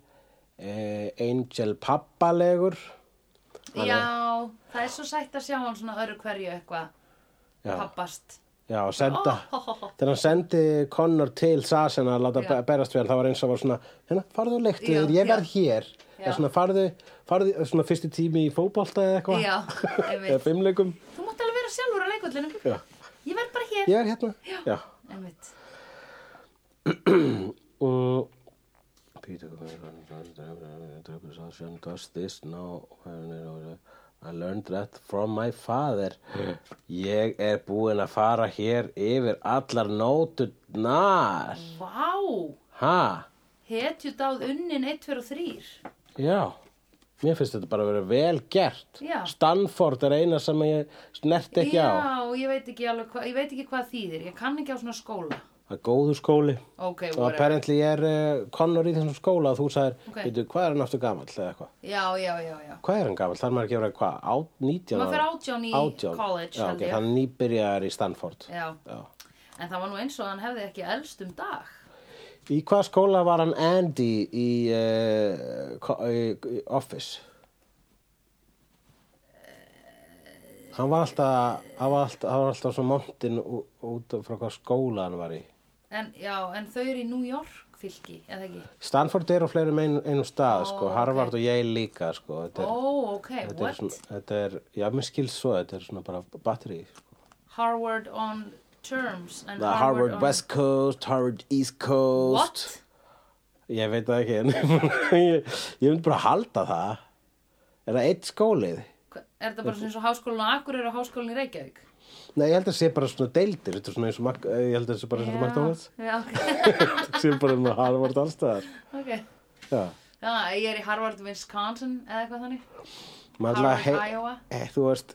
[SPEAKER 1] eh, angel pappalegur.
[SPEAKER 2] Já, það er svo sætt að sjá hann svona öru hverju eitthvað
[SPEAKER 1] Já.
[SPEAKER 2] pappast
[SPEAKER 1] Já, og senda,
[SPEAKER 2] Oh, oh, oh.
[SPEAKER 1] þegar hann sendi Connor til Sasen að láta
[SPEAKER 2] Já.
[SPEAKER 1] berast við hann, það var eins og var svona, hérna, farðu og leiktu
[SPEAKER 2] Já,
[SPEAKER 1] þér, ég verð
[SPEAKER 2] já.
[SPEAKER 1] hér, eða
[SPEAKER 2] Já.
[SPEAKER 1] svona farðu, farðu svona fyrsti tími í fótbolta eða eitthvað, <laughs>
[SPEAKER 2] Já, einmitt.
[SPEAKER 1] eða fimmleikum,
[SPEAKER 2] Þú mátt alveg vera sjálfur á leikvöldinu
[SPEAKER 1] já,
[SPEAKER 2] Ég verð bara hér
[SPEAKER 1] ég er hérna,
[SPEAKER 2] Já.
[SPEAKER 1] já,
[SPEAKER 2] Einmitt
[SPEAKER 1] og Peter, Sasen does this now, I learned that from my father, ég er búinn að fara hér yfir allar nóturnar,
[SPEAKER 2] Vá,
[SPEAKER 1] ha?
[SPEAKER 2] hetju dáð unnin 1, 2 og 3
[SPEAKER 1] Já, mér finnst þetta bara að vera vel gert.
[SPEAKER 2] Já.
[SPEAKER 1] Stanford er eina sem ég snerti ekki á.
[SPEAKER 2] Já, ég veit ekki alveg hvað, ég veit ekki hvað þýðir Ég kann ekki á svona skóla
[SPEAKER 1] Það er góður skóli.
[SPEAKER 2] Ok,
[SPEAKER 1] Og
[SPEAKER 2] whatever
[SPEAKER 1] apparently ég er uh, Connor í þessum skóla og þú sagðir,
[SPEAKER 2] Ok.
[SPEAKER 1] okay. hvað er hann aftur gamall eða eitthvað?
[SPEAKER 2] Já, já, já, já
[SPEAKER 1] Hvað er hann gamall? Það er maður ekki að vera hvað? Á, 19
[SPEAKER 2] Maður fer átján í college,
[SPEAKER 1] Já,
[SPEAKER 2] held
[SPEAKER 1] ok,
[SPEAKER 2] ég.
[SPEAKER 1] hann nýbyrjar í Stanford.
[SPEAKER 2] Já,
[SPEAKER 1] Já.
[SPEAKER 2] en það var nú eins og hann hefði ekki elst um dag
[SPEAKER 1] Í hvað skóla var hann Andy í, uh, ko- í, í Office? Hann var alltaf, hann var alltaf, hann var alltaf svo montinn ú- út frá hvað skóla hann var í.
[SPEAKER 2] En já, en þau eru í New York fylki, eða ekki
[SPEAKER 1] Stanford er á fleirum ein, einum stað, sko,
[SPEAKER 2] ok.
[SPEAKER 1] Harvard og Yale líka, sko. Þetta
[SPEAKER 2] Ó,
[SPEAKER 1] er,
[SPEAKER 2] ok,
[SPEAKER 1] þetta er,
[SPEAKER 2] what?
[SPEAKER 1] svona, þetta er, já, mér skils svo, þetta er svona bara batteri. Sko.
[SPEAKER 2] Harvard on terms and
[SPEAKER 1] Það er Harvard
[SPEAKER 2] on...
[SPEAKER 1] West Coast, Harvard East Coast.
[SPEAKER 2] What?
[SPEAKER 1] Ég veit það ekki, en <laughs> ég, ég myndi bara halda það. Er það eitt skólið?
[SPEAKER 2] Hva- Er þetta bara svona eins og háskólinn á Akureyri og háskólinn í Reykjavík?
[SPEAKER 1] Nei, ég held að það sé bara svona deildir, þetta er svona eins og, Mac- eh, ég held að það sé bara eins og
[SPEAKER 2] Já,
[SPEAKER 1] McDonalds. <laughs>
[SPEAKER 2] Já, ok,
[SPEAKER 1] Það sé bara með Harvard allstæðar.
[SPEAKER 2] ok <laughs>
[SPEAKER 1] Já,
[SPEAKER 2] Já, ég er í Harvard, Wisconsin eða eitthvað þannig
[SPEAKER 1] maður alltaf,
[SPEAKER 2] Harvard, Iowa.
[SPEAKER 1] eh, þú veist,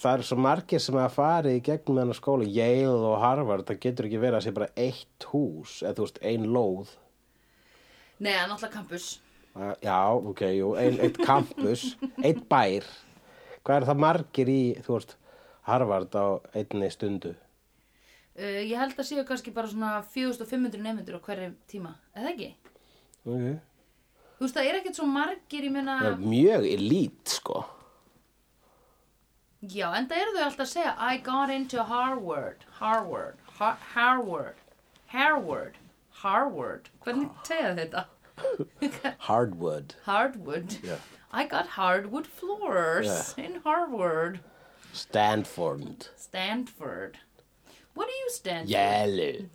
[SPEAKER 1] það eru svo margir sem hafa farið í gegnum þennan skóla, Yale og Harvard, það getur ekki verið að sé bara eitt hús, eða þú veist, ein lóð.
[SPEAKER 2] Nei, en alltaf campus
[SPEAKER 1] Eh, Já, ok, jú, ein, eitt campus, eitt bær. Hvað er það margir í, þú veist, Harvard á einni stundu?
[SPEAKER 2] uh, Ég held að séu kannski bara svona 4500 nefndur á hverju tíma Eða ekki?
[SPEAKER 1] Ok.
[SPEAKER 2] Þú veist, það er ekkert svo margir, ég meina
[SPEAKER 1] Það er mjög elít, sko.
[SPEAKER 2] Já, en það eru þau alltaf að segja I got into Harvard Harvard, Har Harvard Harvard, Harvard Hvernig
[SPEAKER 1] Ah.
[SPEAKER 2] segja þau þetta?
[SPEAKER 1] Hardwood.
[SPEAKER 2] Hardwood
[SPEAKER 1] Já.
[SPEAKER 2] I got hardwood floors in Harvard
[SPEAKER 1] Stanford.
[SPEAKER 2] Stanford What do you stand
[SPEAKER 1] Yellow.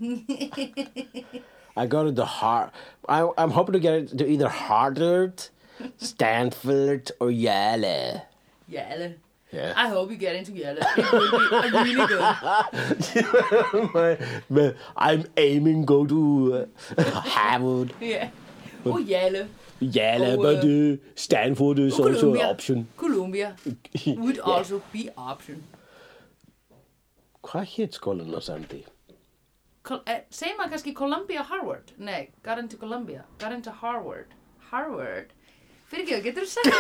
[SPEAKER 1] I go to the hard. I, I'm hoping to get it to either Harvard, Stanford, or Yale.
[SPEAKER 2] for? Yellow
[SPEAKER 1] Yeah. <laughs>
[SPEAKER 2] I hope you get into yellow It will be really good
[SPEAKER 1] Well, I'm aiming go to uh, Harvard,
[SPEAKER 2] Yeah. Og Yale
[SPEAKER 1] Yale,
[SPEAKER 2] Oh,
[SPEAKER 1] but
[SPEAKER 2] uh,
[SPEAKER 1] uh, Stanford is
[SPEAKER 2] og
[SPEAKER 1] also an
[SPEAKER 2] Columbia.
[SPEAKER 1] option. <laughs>
[SPEAKER 2] Columbia would also be option.
[SPEAKER 1] Hvað hétt skólan á Sandy?
[SPEAKER 2] Col eh, segir maður kannski Columbia Harvard? Nei, got into Columbia, got into Harvard. Harvard. Fyrst Birgir, getur þú sagt
[SPEAKER 1] ég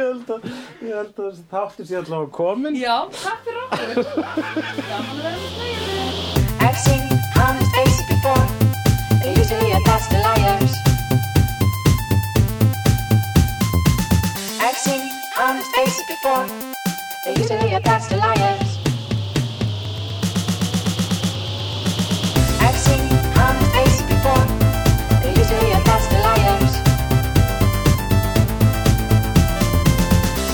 [SPEAKER 1] held að, ég held að þessi þáttur sé allavega komin
[SPEAKER 2] Já, takk fyrir okkur Gaman að vera hérna. með snæðinu
[SPEAKER 4] I've seen honest faces before. They're usually a pass to liars. I've seen honest faces before. They're usually a pass to liars. I've seen honest faces before. They're usually a pass to liars.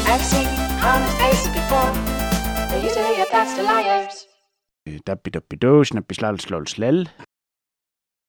[SPEAKER 4] I've seen honest faces before. They're usually a pass to liars.
[SPEAKER 5] Dabbi dabbi dó, snabbi slal slól slell